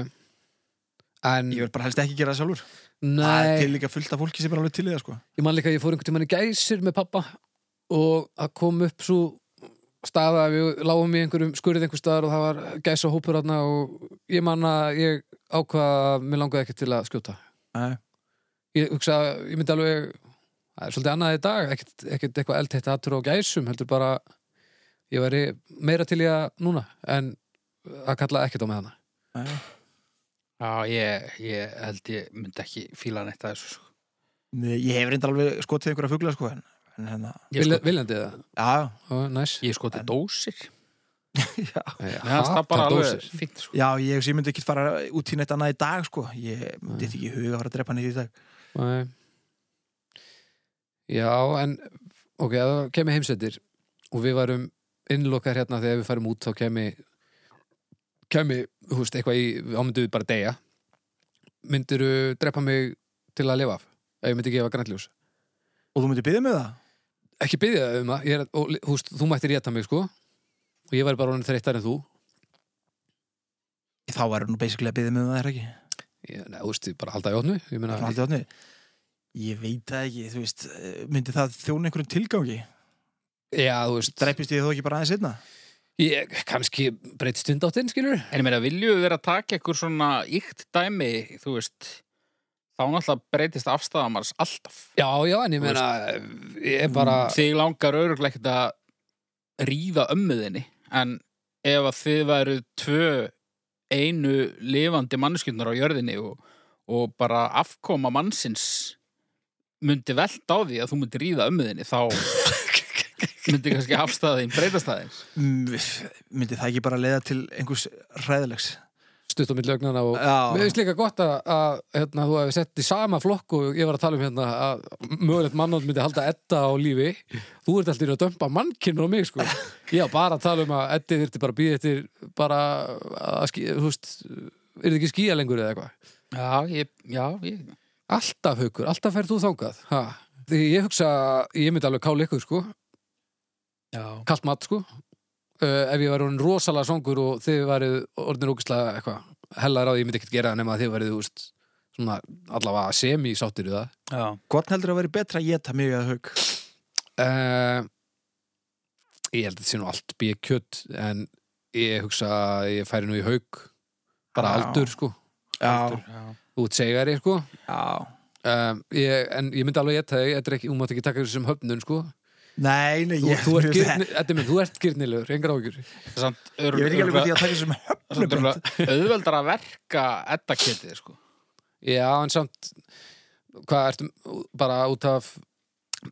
en
Ég vil bara helst ekki gera það sjálfur Það er
nei,
til líka fullt af fólki sem er alveg til í það sko.
ég man líka að ég fór einhvern tímann í gæsir með pappa og það kom upp svo staða að við lágum í einhverjum skurðið einhver staðar og það var gæsa hópur þarna og ég man að ég ákvaða að mér langaði ekki til að skjóta
Nei.
ég hugsa, ég myndi alveg það er svolítið annað í dag, ekkert, ekkert eitthvað eldtætt hattur á gæsum, heldur bara ég væri meira til í að núna en að kalla ekkert á með hana
Nei.
já ég, ég held ég myndi ekki fíla neitt að þessu, sko.
Nei, Ég hef reynda alveg skotið einhverja fugla sko, en, en hérna,
Ég,
Vil,
sko,
viljandi það,
já,
Ó, næs
ég skoti sko dósir.
já.
Ég
Mér fannst það
hata
bara
dósir.
alveg fínt sko.
já, ég, ég myndi ekki fara út í neitt annað í dag sko. ég myndi ekki huga að fara að drepa hann í dag
Nei. Já, en ok, ef það kemur heimsetir og við varum innlokkar hérna þegar við farum út þá kemur kemur, þú veist, eitthvað í ámyndu við bara deyja myndirðu drepa mig til að lifa af ef ég myndi gefa grænljós
og þú myndi byggja með um það?
ekki byggja það um það, ég er, og, þú veist, þú mættir rétta mig sko og ég væri bara orðin þreyttar en þú
þá verður nú basically að byggja með það er ekki
ég, neð, þú veist, ég bara halda í ótnu ég meina,
Haldið átni Ég veit það ekki, þú veist, eh, myndi það þjóna einhverjum tilgangi?
já, þú veist
Dreipist ég þó ekki bara aðeins einna?
ég, kannski breytt stundáttin, skilur
En ég meina, viljum við vera að taka ykkur svona ykt dæmi, þú veist þá náttúrulega breytist afstæðamars alltaf.
já, já, en ég
Þú
meina ég er bara
Þig langar örugglega ekkert að ríða ömmuðinni, en ef að þið væru tvö einu lifandi manneskjöndur á jörðinni og, og bara afkoma mannsins myndi velt á því að þú myndi ríða ömmuðinni, (laughs) þá myndi kannski afstæðin breytast aðeins.
Mm, Myndi það ekki bara leiða til einhvers hræðilegs?
stutt á mitt lögnana og
Já.
mér finnst líka gott að, að hérna, þú hefði sett í sama flokk og ég var að tala um hérna að mögulegt mannátt myndi halda Edda á lífi þú ert alltaf að dömpa mannkynur á mig sko. ég var bara að tala um að Eddi þyrfti bara að býða eftir bara að skí, þú veist, er þið ekki skýja lengur eða eitthvað
Já, ég, já, ég,
Alltaf haukur, alltaf ferð þú þangað ha. Því ég hugsa, ég myndi alveg kála ykkur sko,
já.
kalt mat sko uh, ef ég var orðin rosalega songur og þið varið orðin ógislega eitthvað hellar á því ég myndi ekkert gera það nema að þið varið úst, svona allavega semi sáttir í það
Já.
Hvort heldur að vera betra að geta mig eða haug?
uh, ég held að þetta sé nú allt býja kjött en ég hugsa að ég færi nú í haug bara
Já.
aldur sko
Já,
já.
út segari sko
já.
uh, ég, en ég myndi alveg geta þig þetta er ekki, hún mátt ekki taka þessu sem höfnun sko
Nei, nei,
þú,
(laughs) ég,
þú ert girni, Eddi minn, þú ert girnilegur, engar áhyggjur
Samt, ör,
ég veit ekki alveg hvað ég að taka þessum höfnum beint.
auðveldar að verka edda ketið sko.
já, en samt hvað ertu bara út af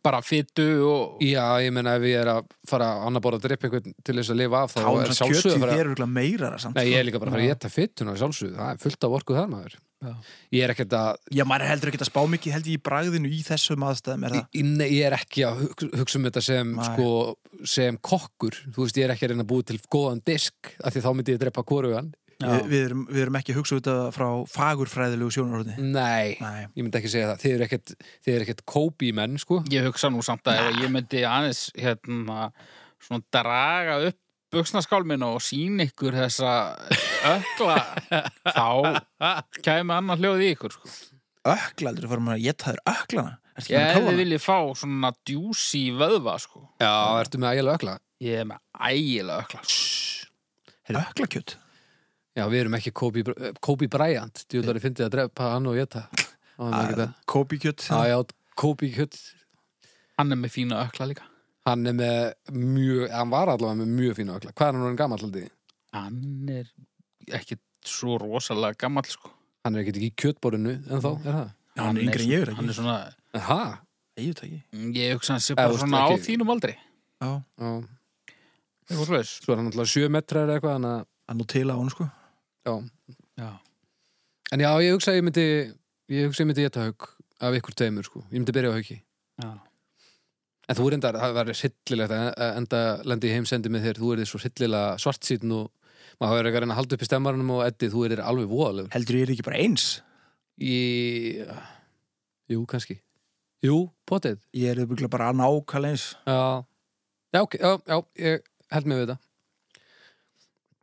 bara fytu og
sko.
Já, ég meina ef ég er að fara að annað borða að drepa einhvern til þess að lifa af þá
Þá
er
er svona
sjálfsögðu
kjötið
að fara
þér eru meirara samt.
Nei, ég er
sko.
líka bara að fara að geta fytuna sjálfsögðu, það er fullt af orku þar maður
Já.
Ég er ekkert að,
Já, maður er heldur ekki að spá mikið held ég í bragðinu í þessum aðstæðum, er það?
í- nei, ég er ekki að hugsa, hugsa um þetta sem,
Nei.
sko, sem kokkur þú veist, ég er ekki að reyna að búi til góðan disk af því þá myndi ég drepa korugan
Við, við, erum, við erum ekki að hugsa út af frá fagurfræðilegu sjónarhóðni.
Nei,
Nei.
ég myndi ekki segja það Þið eru ekkert, þið eru ekkert kópi menn, sko
ég hugsa nú samt að ef ég myndi aðeins hérna, svona draga upp buksnaskálminu og sín ykkur þessa ökla
(laughs)
þá kæmi annar hljóð í ykkur sko.
Ökla, heldur að fara maður að geta þér öklana? Ertu ekki
ég
búin að prófa
ef þið
það?
viljið fá svona djúsi vöðva sko.
Já, ertu með ægilega ökla
ég er með ægilega ökla sko.
Öklakjöt?
Já, við erum ekki Kobe, eh, Kobe Bryant Djúlari fyndið að drepa hann og geta
Ah, Kópikjöt?
Já, já, Kobe kjöt
hann er með fína ökla líka
Hann er með mjög, hann var allavega með mjög fína ökla. Hvað er hann orðin gammal haldið?
hann er ekki svo rosalega gammal sko.
Hann er ekkert ekki í kjötborinu en þá, er það?
Já, hann er yngri en ég er ekki.
svona- hann er svona,
Aha,
Ég veit það ekki.
ég hugsa hann sé
þú
bara
ert
svona á
ekki-
þínum aldri
Já,
já.
eitthvað slags
Svo er hann alltaf sjö metrar eða eitthvað, en að,
hann nú til á hann sko.
já.
já.
En já, ég hugsa að ég myndi, ég hugsa að ég myndi geta haug af ykkur tveimur, sko. Ég myndi byrja á hauki.
Já.
En þú er endar, það var sillilegt að að enda lendi í heimsendi með þér. Þú er þér svo sillilega svartsýtn og maður er ekki að reyna að halda upp í stemmaranum og eddi, þú er þér alveg voðalegur.
Heldur ég er ekki bara eins?
Í... Jú, kannski. Jú, potið.
Ég er auðvitað bara nákvæmlega eins.
Já, já, ok, já, já, ég held mig við þetta.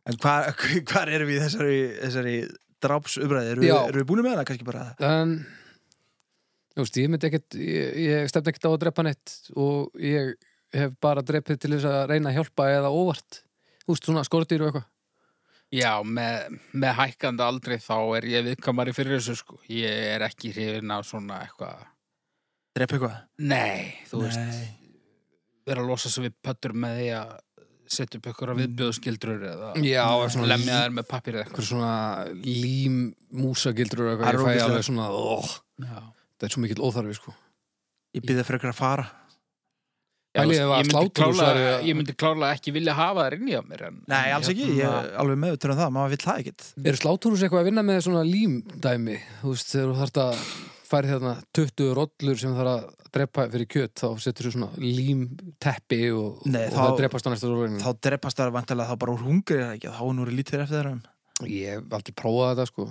En hvar, (laughs) hvar erum við í þessari, þessari drápsumræði? Erum,
Já.
við- erum við búin með það kannski bara?
En, Um, þú veist, ég myndi ekkit, ég, ég stefna ekkit á að drepa neitt og ég hef bara drepið til þess að reyna að hjálpa eða óvart. Þú veist, svona skordýr og eitthvað.
Já, með, með hækkandi aldrei þá er ég viðkamari fyrir þessu sko. Ég er ekki hrifin af svona eitthvað.
Drepa eitthvað?
Nei, þú veist,
Nei.
vera að losa svo við pöttur með því að setja upp ykkur að viðbjöðskildrur eða
Já, svona
lemja þær með pappir eða
Eitthvað svona lím músagildur og
Það er
eitthvað. Ég fæ
ógeðslegt.
alveg svona, oh, óh,
eitthvað. Já.
þetta er svo mikill óþarfi, sko.
Ég byrði fyrir ykkur að fara.
Já,
Pælið
þú
ef að
veist, ég, myndi
sláturhús
klála,
væri að-
ég myndi klála ekki vilja hafa það inn í á mér en, Hérna,
Nei, alls ekki, ég er alveg meðutur um það, maður vill það ekkit
Eru sláturhús eitthvað að vinna með svona límdæmi? Þú veist, þegar þú þarft að færi þarna 20 rollur sem þarf að drepa fyrir kjöt, þá setur þú svona límteppi og,
Nei,
og
þá-
það drepast á næsta rollinu.
Þá drepast það vantilega þá bara úr hungri er það ekki, þá er nú lítið eftir þeirra
Ég hef aldrei prófað þetta, sko.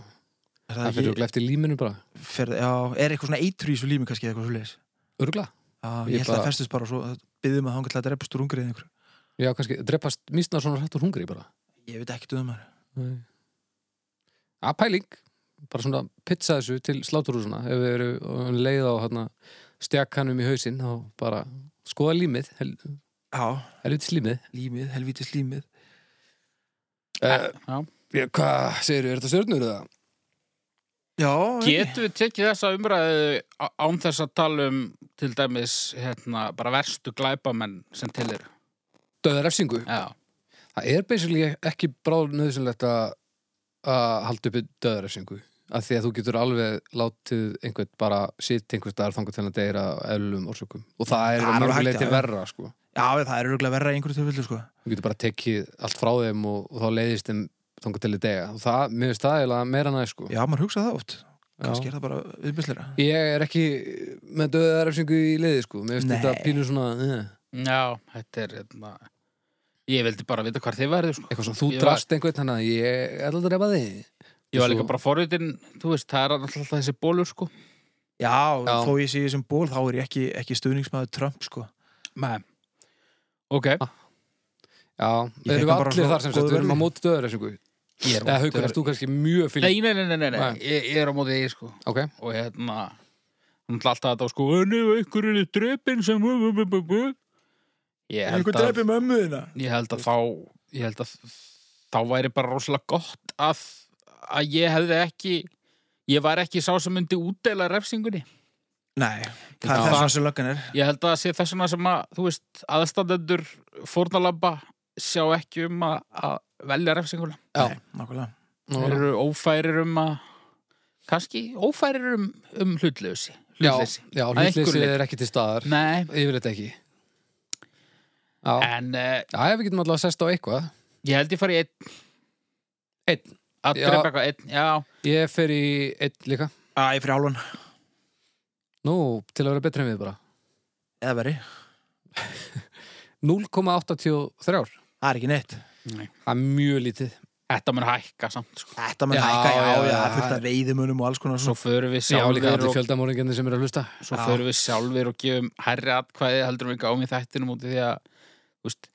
Er
Það
það
fyrir
ekki,
örugglega eftir líminu bara.
fyrir, já, er eitthvað svona eitru í svo lími kannski eða eitthvað svo leis
Örgla?
Já,
Ég
ég held að
bara-
það festist bara og svo byggðum að hanga til að drepast úr hungrið einhver
Já, kannski, drepast místnar svona hrætt úr hungri bara.
Ég veit um ekki duðum það
Nei. Að pæling, bara svona pizza þessu til sláturhúsuna, ef við eru leið á hérna, stjakkanum í hausinn, þá bara skoða límið, hel,
Já,
helvitis límið.
límið, helvítis límið
Uh,
já.
hvað segir þú, er þetta stjörnur eða?
Já,
Getum við tekið þessa umræðu á- án þess að tala um til dæmis hérna, bara verstu glæpamenn sem til eru?
Döðar efsingu.
Já.
Það er basically ekki bráð nöðsynlegt að að halda uppi döðar efsingu. Af því að þú getur alveg látið einhvern bara sitt einhvers dagar þangar til að deyra á eðlum orsökum. Og það er
Það er alveg hægt,
mörguleiti
já.
verra, sko.
já, það er örgulega verra í einhverju tilfellu sko
þú getur bara tekið allt frá þeim og, og þá leiðist þeim þangað til í dega og það, mér finnst það eiginlega meira næ sko.
Já, maður hugsa það oft, kannski
Já.
er það bara viðbyrslera
ég er ekki með döðarefsingu í leiði sko. mér finnst
Nei.
þetta pínu svona eh,
Já, þetta er hérna... Ég vildi bara vita hvar þið værið, sko.
eitthvað svona þú
Ég var-
drast einhvern þannig að ég er alltaf reypa þig
Ég var
Svo-
líka bara forvitin, þú veist, það er alltaf þessi bólur, sko.
Já,
Já.
þó ég sé sem ból þá er ég ekki, ekki stuðningsmaður Trump sko.
Nei. Ok,
Ah, já,
Ég
erum
fékk
við
hann bara
allir
svona
þar sem sagt,
góðu
við erum
verði.
á móti döðarefsingu
ég er
eða haukur, erst þú kannski mjög fyrir
Nei, nei, nei, nei, nei, nei.
Nei.
Ég, ég er á mótið ég, sko.
ok,
Og hérna, hún ætla alltaf þetta, á, sko, en ef einhver er drepin sem... Ég held að...
mömmuðina
Ég held að þá ég held að þá væri bara rosalega gott að, að ég hefði ekki ég var ekki sá sem myndi útdeila refsingunni.
Nei, það
Já.
er þess að sem löggan er
Ég held að það sé þess vegna sem að þú veist, aðstandendur fórnalamba sjá ekki um að, að velja refsinguna.
Já.
Nei, nákvæmlega
nú,
Þeir eru ófærir um að kannski ófærir um, um hlutleysi.
já,
hlutleysi.
já
Að einhverju
hlutleysi
leyti.
er ekki til staðar
Nei,
yfirleitt ekki já,
en uh,
já, ef við getum alltaf að sesta á eitthvað
ég held ég fari í einn.
Einn.
Að
Já.
drepa eitthvað einn, já.
ég fer í einn líka
Æ, fyrir hálfan
nú, til að vera betri en við bara
Eða veri,
0,83
það er ekki neitt
Það er mjög lítið
Þetta mun hækka samt, sko.
Þetta mun
Já,
hækka, já,
já,
já,
já.
já fullt af veiðimunum og alls konar
Svo
svo
förum við
Já, líka
sjálfur
allir
og
fjöldamóringarnir sem eru að hlusta
svo
Já.
förum við sjálfur og gefum herri atkvæði heldur við gáum í þættinum út af því að þú veist,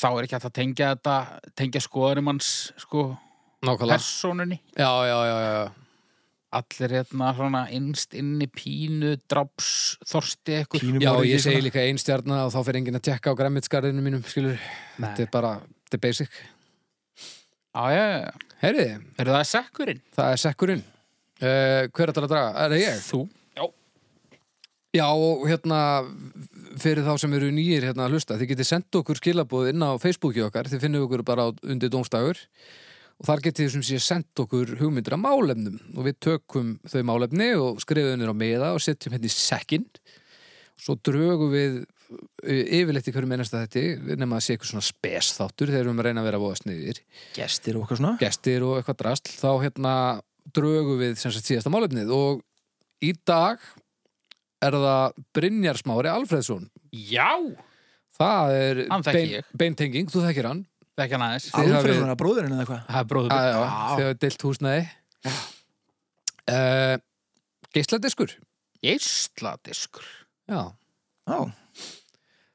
þá er ekki hægt að tengja þetta tengja skoðarum hans sko,
Nákvæmlega
personunni
Já, já, já, já, já.
allir hérna svona innst inni pínu draps þorsti eitthvað
Pínum
já
orðið
ég
í
segi
svona.
líka einstjarna og þá fer enginn að tekka á græmitskarðinu mínum skilur Þetta er bara, þetta er basic
já, já, já.
Heyriði,
er það sekkurinn?
það er sekkurinn uh, Hver er þetta að draga? Er það ég?
Þú? Já,
Já, og hérna fyrir þá sem eru nýjir hérna að hlusta þið getið sendt okkur skilabóð inn á Facebooki okkar þið finnum okkur bara á undir dómstagur og þar getið þið sem sé sendt okkur hugmyndir að málefnum og við tökum þau málefni og skrifum þeir á meða og setjum hérna í sekkin svo drögum við eh, yfirleitt í hverju mennast að þetta nema að sé eitthvað svona spesþáttur þegar við erum að reyna að vera voða sniðir
Gestir og okkar svona
gestir og eitthvað drasl þá hérna drögum við sem sagt síðasta málefnið og í dag er það Brynjar Smári Alfreðsson það er
Hann þekki
bein,
ég.
beintenging, þú þekkir hann
það er ekki hann aðeins
Þið hafið-
Alfreður, bróðurinn eða eitthvað
Það er bróður
Já,
minn.
já, þegar við deilt húsnaði uh, Geisladiskur
Geisladiskur
Já,
Já,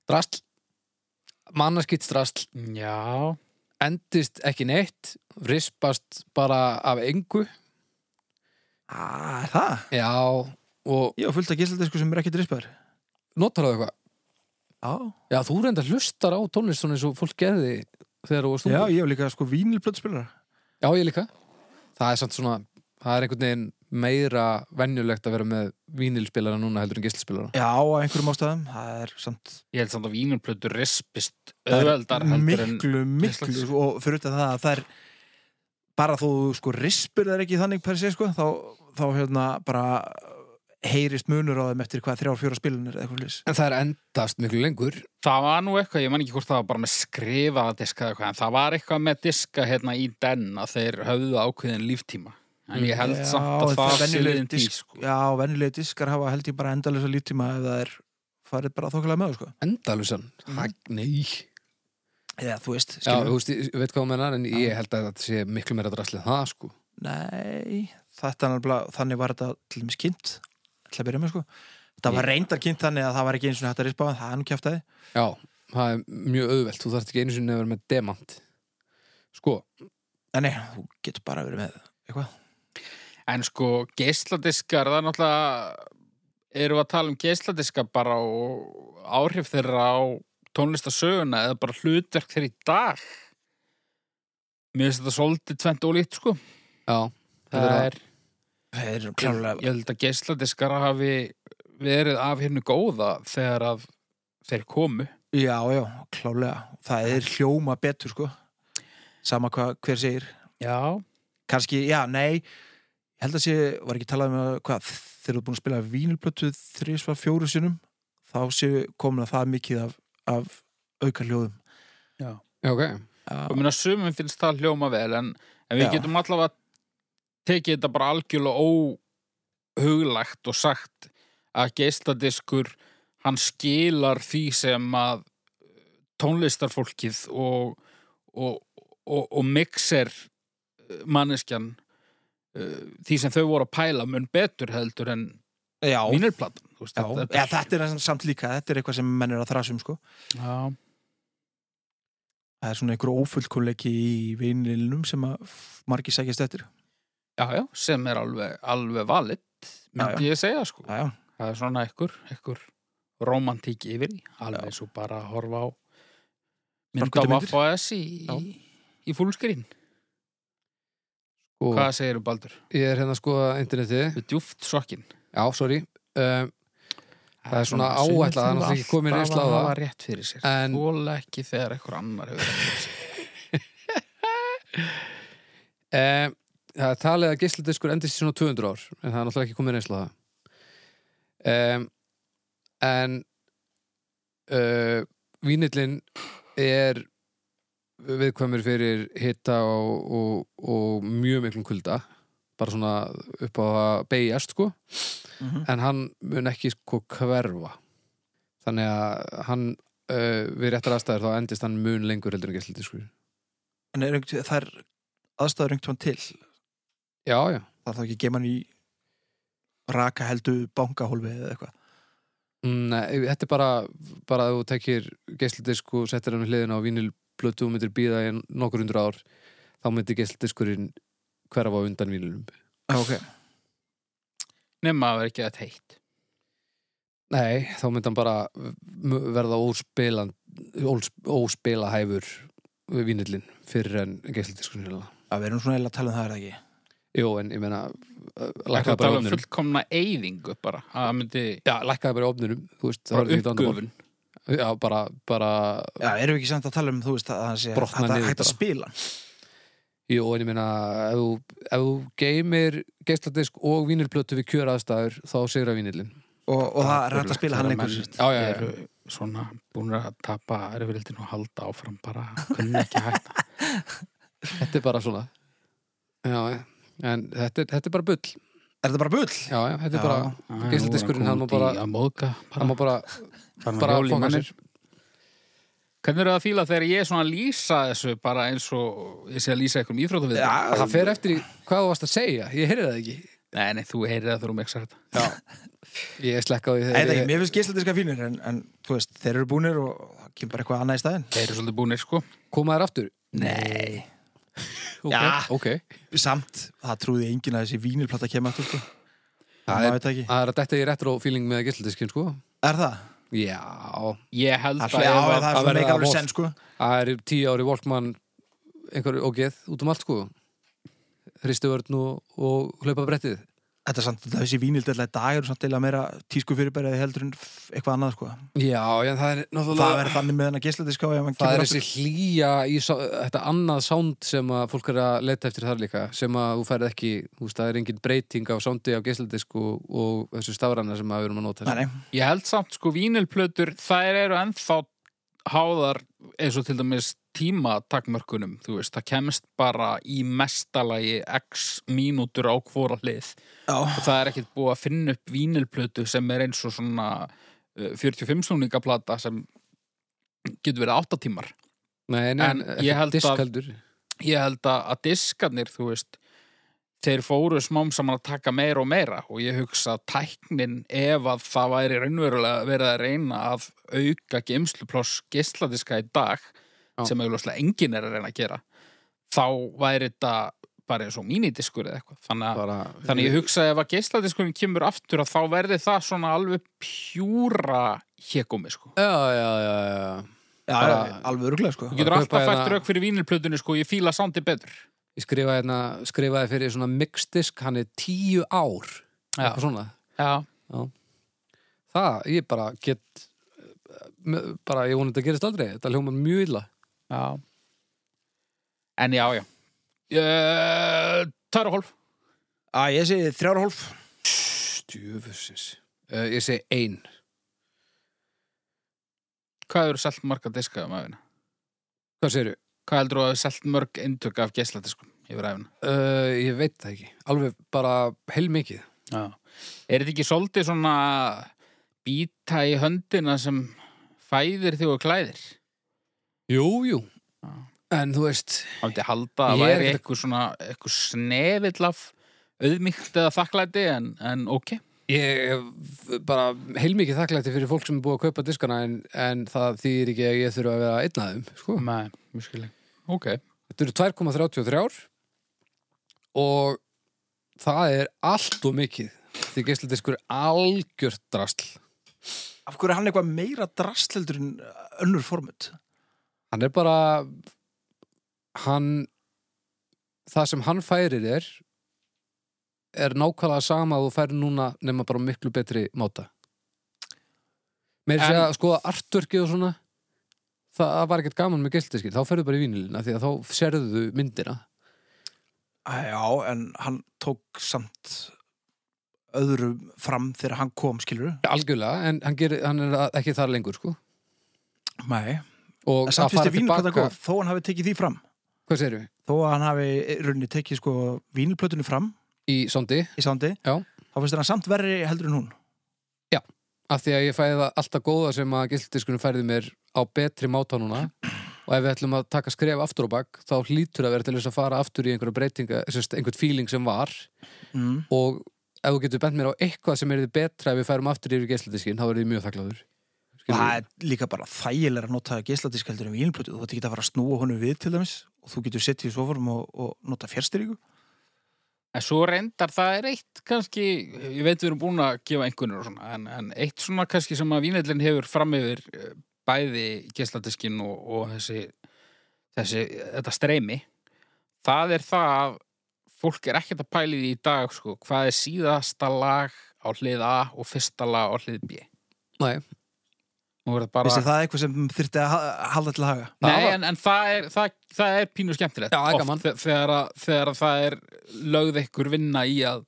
drasl mannaskitt drasl
Já,
endist ekki neitt rispast bara af engu
Ah, er það
Já, og
Ég var fullt af gísaldisku sem er ekki drispaður
notar það eitthvað
Já,
Já, þú reynda hlustar á tónlist svona eins og fólk gerði þegar þú varst
já,
ungur.
ég var líka sko vínilplötspilara
Já, ég líka. Það er samt svona, það er einhvern veginn meira venjulegt að vera með vínilspilara núna heldur en gíslaspilara.
Já, á einhverjum ástæðum, það er samt
ég held samt að vínumplötu rispist
Það er
öðveldar heldur en
miklu, miklu
Íslands.
sko, og fyrir utan það að það er bara þú sko rispur þær ekki þannig per sé sko, þá, þá hérna bara heyrist munur á þeim eftir hvað þrjár, fjóra spilunir eða eitthvað lýs
En það er endast miklu lengur.
Það var nú eitthvað, ég man ekki hvort það var bara með skrifaða diska eða eitthvað, en það var eitthvað með diska hérna í den að þeir höfðu ákveðin líftíma. En ég
Mm.
held samt að það sé liðin tí, sko.
Já, venjulegi diskar hafa held ég bara endalisa líftíma ef það er farið bara þokkilega með sko.
Endalusan.
Mhm.
Mm. Nei.
eða þú veist
Já,
skilur.
þú veist, ég veit hvað menna, en ég held að þetta sé miklu meira draslið en það, sko.
Nei, þetta er náttúrulega, þannig var þetta til dæmis kynnt, ætla að byrja með sko. Það var reyndar kynnt þannig að það var ekki eins og hægt að rispa, en það er nú kjæftæði.
Já, það er mjög auðvelt. Þú þarft ekki einu sinni að vera með demant. Sko,
En nei, þú getur bara verið með eitthvað.
En sko, geisladiskar, það er náttúrulega, eru að tala um geisladiska bara og áhrif þeirra á tónlistasöguna eða bara hlutverk þeirra í dag. Mér finnst þetta svolítið tvent ólíkt, sko.
já.
Það er,
Það er
ég
klárlega,
held að geisladiskar hafi verið af hérna góða þegar að þeir komu.
já, já, klárlega. Það er hljóma betur sko, sama hvað hver segir.
Já,
Kanski, já, nei, ég held að sé, var ekki talað um að, hvað, þeir eru búin að spila vínilplötu þrísvar fjóru sinum, þá séu komin að það mikið af, af auka hljóðum.
Já, ok.
og minna sumum finnst það hljóma vel en, en við
Já.
getum allavega tekið þetta bara algjörlega óhuglagt og sagt að geisladiskur hann skilar því sem að tónlistarfólkið og, og, og, og mixer manneskjan uh, því sem þau voru að pæla mun betur heldur en
Já,
vinilplatan þú veist,
Já, þetta, ja, þetta er samt líka, þetta er eitthvað sem menn er að þrasum sko.
já,
Það er svona einhver ófullkonleiki í vinilnum sem að f- margir sækjast eftir.
já, já, sem er alveg, alveg valitt
Já,
myndi ég segja sko
Já, já.
það er svona ekkur, ekkur romantík yfir í, alveg eins og bara að horfa á mynd á
Svarthvítar
Vaffas í,
Já.
í, í fúlskrín
Og
hvað segirðu Baldur?
Sko, ég er hérna að skoða internetið.
Við djúft sokkin
Já, sorry. Um, Það er svona áætlað, það er náttúrulega ekki komin reynsla á
það
það.
var rétt fyrir sér,
En-
en... ekki þegar ekkur annar hefur rétt fyrir sér.
um, það er talið að geisladiskur endist í svona 200 ár, en það er náttúrulega ekki komin einsla það. Um, en uh, vínillin er viðkvæmur fyrir hitta og, og, og mjög miklum kulda bara svona upp á að beigjast sko
Mhm.
en hann mun ekki sko hverfa þannig að hann uh, við réttar aðstæður þá endist hann mun lengur heldur en geisladiskur
En er, einhvern- það er aðstæður einhvern tímann til.
já já
Það er þá ekki geiman í raka heldu bankahólfi eða eitthvað.
Mm, Nei, þetta er bara, bara að þú tekir geisladisk og settir hann við hliðina á vínilblötu og myndir býða í nokkur hundra ár þá myndir geisladiskurinn hverfa á undan vínilum
Já, Ah, ok.
nema að vera ekki þetta heitt
Nei, þá myndi hann bara m- verða óspilan, ós, óspilahæfur vínilinn fyrir en geisladiskurinn hérna.
Það verður nú svona eða að tala um það er það ekki.
Jó, en ég meina uh,
ekki
lækkaði
að
bara í
tala um
ofninum
fullkomna eyðingu bara, að það myndi
Já, lækkaði bara í ofninum, þú veist það
bara
verður ekkert vandamál.
uppgöfun
Já, bara, bara
Já, erum við ekki samt að tala um, þú veist, að það sé
Brotna
að það
niður
hægt að
bara.
spila. hann?
Jú, en ég meina, ef þú, ef þú geymir geisladisk og vínilplötu við kjöraðstæður, þá sigra vínilin.
Og, og það er hægt að
Ömurlegt
spila hann
þegar
lengur.
menn
sérst.
Já, já, já.
eru uh, svona búin að tapa erfirildin og halda áfram bara kunni ekki að hætta
Þetta er bara svona. Já, já. en þetta er, þetta er bara bull.
Er þetta bara bull?
Já, já, þetta er
Já.
bara,
Æ,
Geisladiskurinn,
nú er
hann má
kominn út
bara-
í að móðga bara,
það má bara,
bara,
bara
hjóla í
fóka
manni.
sér.
Hvernig eru það að fíla þegar ég er svona að lýsa þessu bara eins og ég sé að lýsa einhverjum íþróttu við
Já,
Það fer eftir í hvað þú varst að segja, ég heyrði það ekki.
Nei, nei, þú heyrir það þú mixar þetta
Já. Ég slekkaði
Nei, þetta ekki,
þegar ég...
mér finnst geisladiska fínir, en, en þú veist, þeir eru búnir og það kemur bara eitthvað annað í staðinn.
Þeir eru svolítið búinir sko
Komaður aftur?
Nei.
Ok,
Já.
ok.
samt, það trúði enginn að þessi vínilplata kemur aftur sko.
Það
maður
er,
veit ekki.
það er að þetta er retro feeling með geisladiskin, sko.
Er það?
Já,
Ég held
Það
að,
hljóði á
ef
að það
að
er svona
verða
meikar alveg
að
senn sko.
það er tíu ári Volkmann, einhverju ógeð, út um allt, sko. Hristu vörn og, og hlaupa brettið.
þetta er samt, þessi vínildallega dag eru samt eila meira tísku fyrirbærið heldur en f- eitthvað annað sko.
Já, já, það er
Það
náttúrulega
verður þannig með hennar geisladiska og ef hann
Það er
kemur
þessi hlýja í sá, þetta annað sound sem að fólk er að leta eftir þar líka sem að þú færð ekki, þú veist, það er engin breyting á soundi á geisladisk og, og þessu stafrana sem að við erum að nota
aftur. Nei, nei.
Ég held samt sko vínilplötur, þær eru ennþá háðar eins og til dæmis tímatakmörkunum, þú veist, það kemst bara í mestalagi x mínútur á hvora hlið
Já,
og það er ekkert búið að finna upp vínilplötu sem er eins og svona eh, 45 snúningaplata sem getur verið 8 tímar.
Nei, nei,
En
ekki
ég held
disk
að-
heldur
ég held að, að diskarnir, þú veist, þeir fóru smám saman að taka meira og meira og ég hugsa að tæknin ef að það væri raunverulega verið að reyna að auka geimsluploss geisladiska í dag,
Já.
sem auðvitað enginn er að reyna að gera, þá væri þetta bara eins og mínidiskur eða eitthvað. Þannig, að,
bara,
þannig ég hugsa að ef að geisladiskurinn kemur aftur að þá verði það svona alveg pjúra hégómi, sko.
Já, já, já, já
já,
Bara-
já, alveg öruglega sko.
Þú getur
kaupa
alltaf
hérna-
fært rauk fyrir vínilplötunni, sko, ég fíla sándi betur.
Ég skrifaði, hérna, skrifaði fyrir svona mixdisk hann er tíu ár
Já.
eitthvað svona
Já.
Það, ég bara get m- bara, ég vonið þetta gerist aldrei þetta hljómar mjög illa
Já. En já, já. Uh, Tæra hólf.
Æ, ég segi þrjára hólf.
Stjöfusins uh, Ég segi ein
Hvað eru selt marga diska um æfina?
Hvað segirðu?
Hvað heldur þú að hefur selt mörg inntök af geisladiskum yfir æfina?
Uh, ég veit það ekki, alveg bara heilmikið
Já. Er þetta ekki svolítið svona býta í höndina sem fæðir þig og klæðir?
Jú, jú
Já.
En þú veist,
Það myndi halda að
Ég er
væri
ekkert-
eitthvað svona eitthvað snefill af auðmíkt eða þakklæti en, en ok.
ég hef bara heilmikið þakklætti fyrir fólk sem er búið að kaupa diskana en, en það þýðir ekki að ég þurfa að vera einn af þeim sko.
Nei, mjög skilja. Ok.
Þetta eru 2,33 ár og það er allt og mikið því geisladiskur er algjört drasl
Af hverju er hann eitthvað meira drast heldur en önnur formut?
hann er bara hann það sem hann færir er er nákvæmlega sama að þú færir núna nema bara á miklu betri máta með þess
En-
að skoða artverkið og svona það var ekkert gaman með gildiskir þá ferðu bara í vínilina því að þá serðu myndina
Æ, já, en hann tók samt öðrum fram þegar hann kom, skilur.
algjörlega en hann, gerir, hann er að- ekki þar lengur sko
Nei.
og
Samt
að
fyrst er
fara
vínplata
tilbaka
góð, þó hann hafi tekið því fram.
hvað segir við?
Þó að hann hafi í rauninni tekið sko vínplötunni fram
í sondi
í sándi,
Já.
þá finnst þér hann samt verri heldur en hún.
af því að ég fæði það alltaf góða sem að gildiskunum færði mér á betri máta núna og ef við ætlum að taka skref aftur á bak þá hlýtur að vera til þess að fara aftur í einhverja breytinga, sérst, einhvern feeling sem var
Mm.
og ef þú getur bent mér á eitthvað sem er þið betra ef við færum aftur yfir geisladiskin þá verður ég mjög þakkláður Skilurðu?
Það er líka bara þægilega að nota geisladisk heldur en vínplötu. Þú ætti ekki að fara að snúa honum við til dæmis og þú getur sett í sofarum og, og nota fjärstyringu.
En svo reyndar, það er eitt kannski, ég veit við erum búin að gefa einhvernur og svona, en, en eitt svona kannski sem að vínellin hefur fram yfir eh, bæði gesladiskin og, og þessi, þessi, þetta streymi, það er það að fólk er ekkert að pæli því í dag, sko, hvað er síðasta lag á hlið A og fyrsta lag á hlið B.
Nei.
Nú er það
Bara...
bara...
það er eitthvað sem þyrfti að ha- halda til haga.
Það
Nei,
var-
en, en það, er, það, það er pínu skemmtilegt
Já, það er gaman.
oft þe- þegar, að- þegar að það er lögð ykkur vinna í að,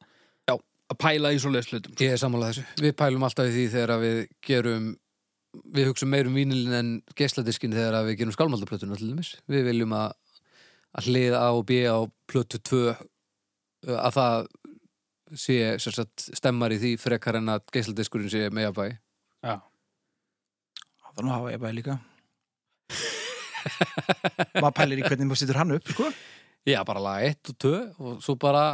Já.
að pæla í svoleiðis hlutum
Ég er samanlega þessu. Við pælum alltaf í því þegar að við gerum við hugsum meir um vínilin en geisladiskin þegar að við gerum skálmaldaplötuna til dæmis. Við viljum að, að hlið A og B á plötu 2 uh, að það sé sem sagt, stemmar í því frekar en að geisladiskurinn sé meja bæ.
Já.
Þannig hafa ég bara líka. Maður pælir í hvernig maður setur hann upp, sko.
Já, bara lag 1 og 2 og svo bara,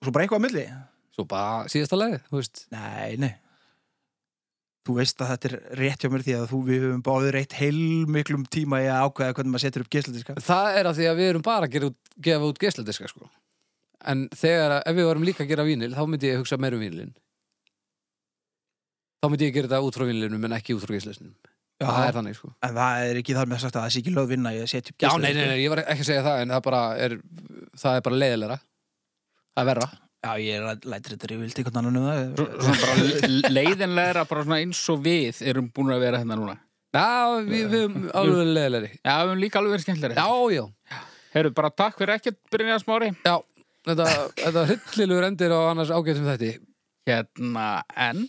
Svo bara eitthvað að milli.
svo bara síðasta lagið, þú veist.
Nei, nei. Þú veist að þetta er rétt hjá mér því að þú, við höfum báðið reitt heilmiklum tíma í að ákveða hvernig maður setur upp geisladiska.
Það er af því að við erum bara að gera út, gefa út geisladiska sko. En þegar að, ef við varum líka að gera vínil þá myndi ég hugsa meir um vínilin Þá myndi ég gera þetta út frá vínilinum en ekki út frá geisladisnum
Já,
Það er þannig sko
En það er ekki þar með sagt að það sé ekki löð vinna í að setja upp
Já, nei, nei, nei, ég var ekki að segja það en það bara er, það er bara leiðilegra Það er verra
Já, ég læ- lætur þetta rífild einhvern annan um það.
Svo- Svona bara leiðinlegra, bara svona eins og við erum búin að vera hérna núna.
Já, við, við erum (laughs) alveg leðilegri
Já, við erum líka alveg verið skemmtilegri.
Já, já,
Herru, bara takk fyrir ekkert, Brynjar Smári.
já Þetta, þetta hryllilegur endir á annars ágætum þætti
Hérna, en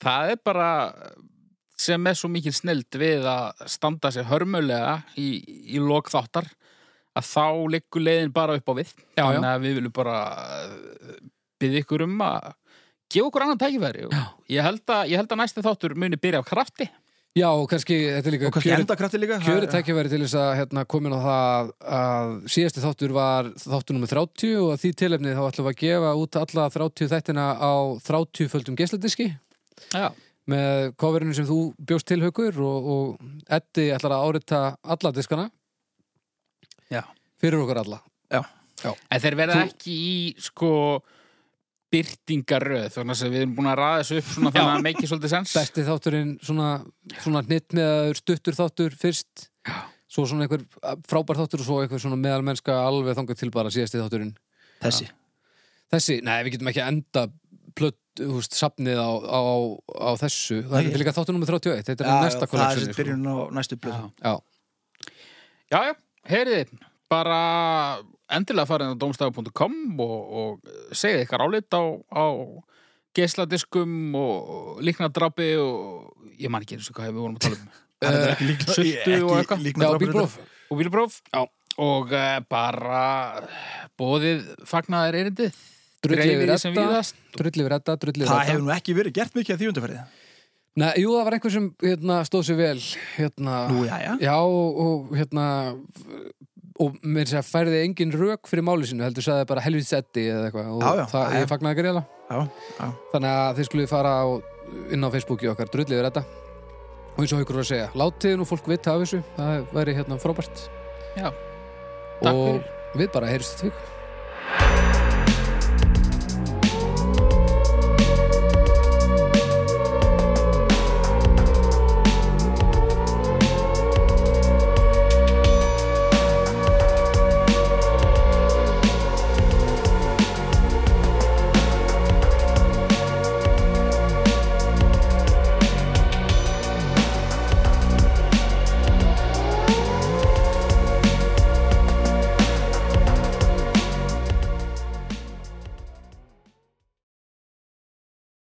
það er bara sem er svo mikil snild við að standa sér hörmulega í, í lok þáttar að þá liggur leiðin bara upp á við.
Já, já.
Þannig að við viljum bara byggja ykkur um að gefa okkur annan tækifæri.
Já.
Ég held að, ég held að næsti þáttur muni byrja á krafti.
Já, og kannski, þetta er líka
Og kannski
kjörið-
endakrafti líka.
Kjöri tækifæri til þess að hérna, komin á það að síðasti þáttur var þáttur nummer 30 og að því tilefnið þá ætlum við að gefa út alla 30 þættina á 30 földum geisladiski
Já.
með coverinu sem þú bjóst til haukur og, og Eddi ætlar að árita alla diskana
Já.
fyrir okkur alla
En þeir verða
Þú-
ekki í sko byrtingaröð þannig að við erum búin að ræða þessu upp svona þannig að make it svolítið sens
besti þátturinn svona, svona hnitt með stuttur þáttur fyrst
Já.
svo svona einhver frábær þáttur og svo einhver svona meðalmennska alveg þangað til bara síðasti þátturinn
Þessi.
þessi, nei við getum ekki að enda plött, húst, safnið á, á, á þessu, það
Nei.
er líka þáttur nummer 31, þetta er
Já,
næsta
já, Það er
kolleksjoni
sem byrjun á næstu blöðum.
Já,
Já, já, heyriði, bara endilega farin á domstafu.com og, og segið ykkar álit á, á geisladiskum og líknadrapi og ég man ekki eins og hvað við vorum
(laughs)
að tala um
Það er ekki líkna.
sultu og eitthvað.
já
Líkna
bílpróf
og bílpróf
Já.
og uh, bara bóðið fagnaðar erindið
Drullið
dreifið
við
því sem
redda,
víðast
drullið við redda, drullið við
Það hefur
redda
nú ekki verið gert mikið af því undanferðið.
Nei, Jú, það var einhver sem hérna, stóð sér vel hérna,
Nú, já, já.
Já, og, og hérna og mér sér að færði engin rök fyrir máli sínu, heldur sagði bara helvits eddi eða eitthvað, og
Já, já,
það,
já, já.
ég fagnaði greiðlega
Já, já.
Þannig að þið skulle fara á, inn á Facebooki okkar drullið við þetta og eins og haukur var að segja, látið nú fólk vita af þessu það væri hérna frábært
Já, takk
og
fyrir
við bara heyrjumst þetta viku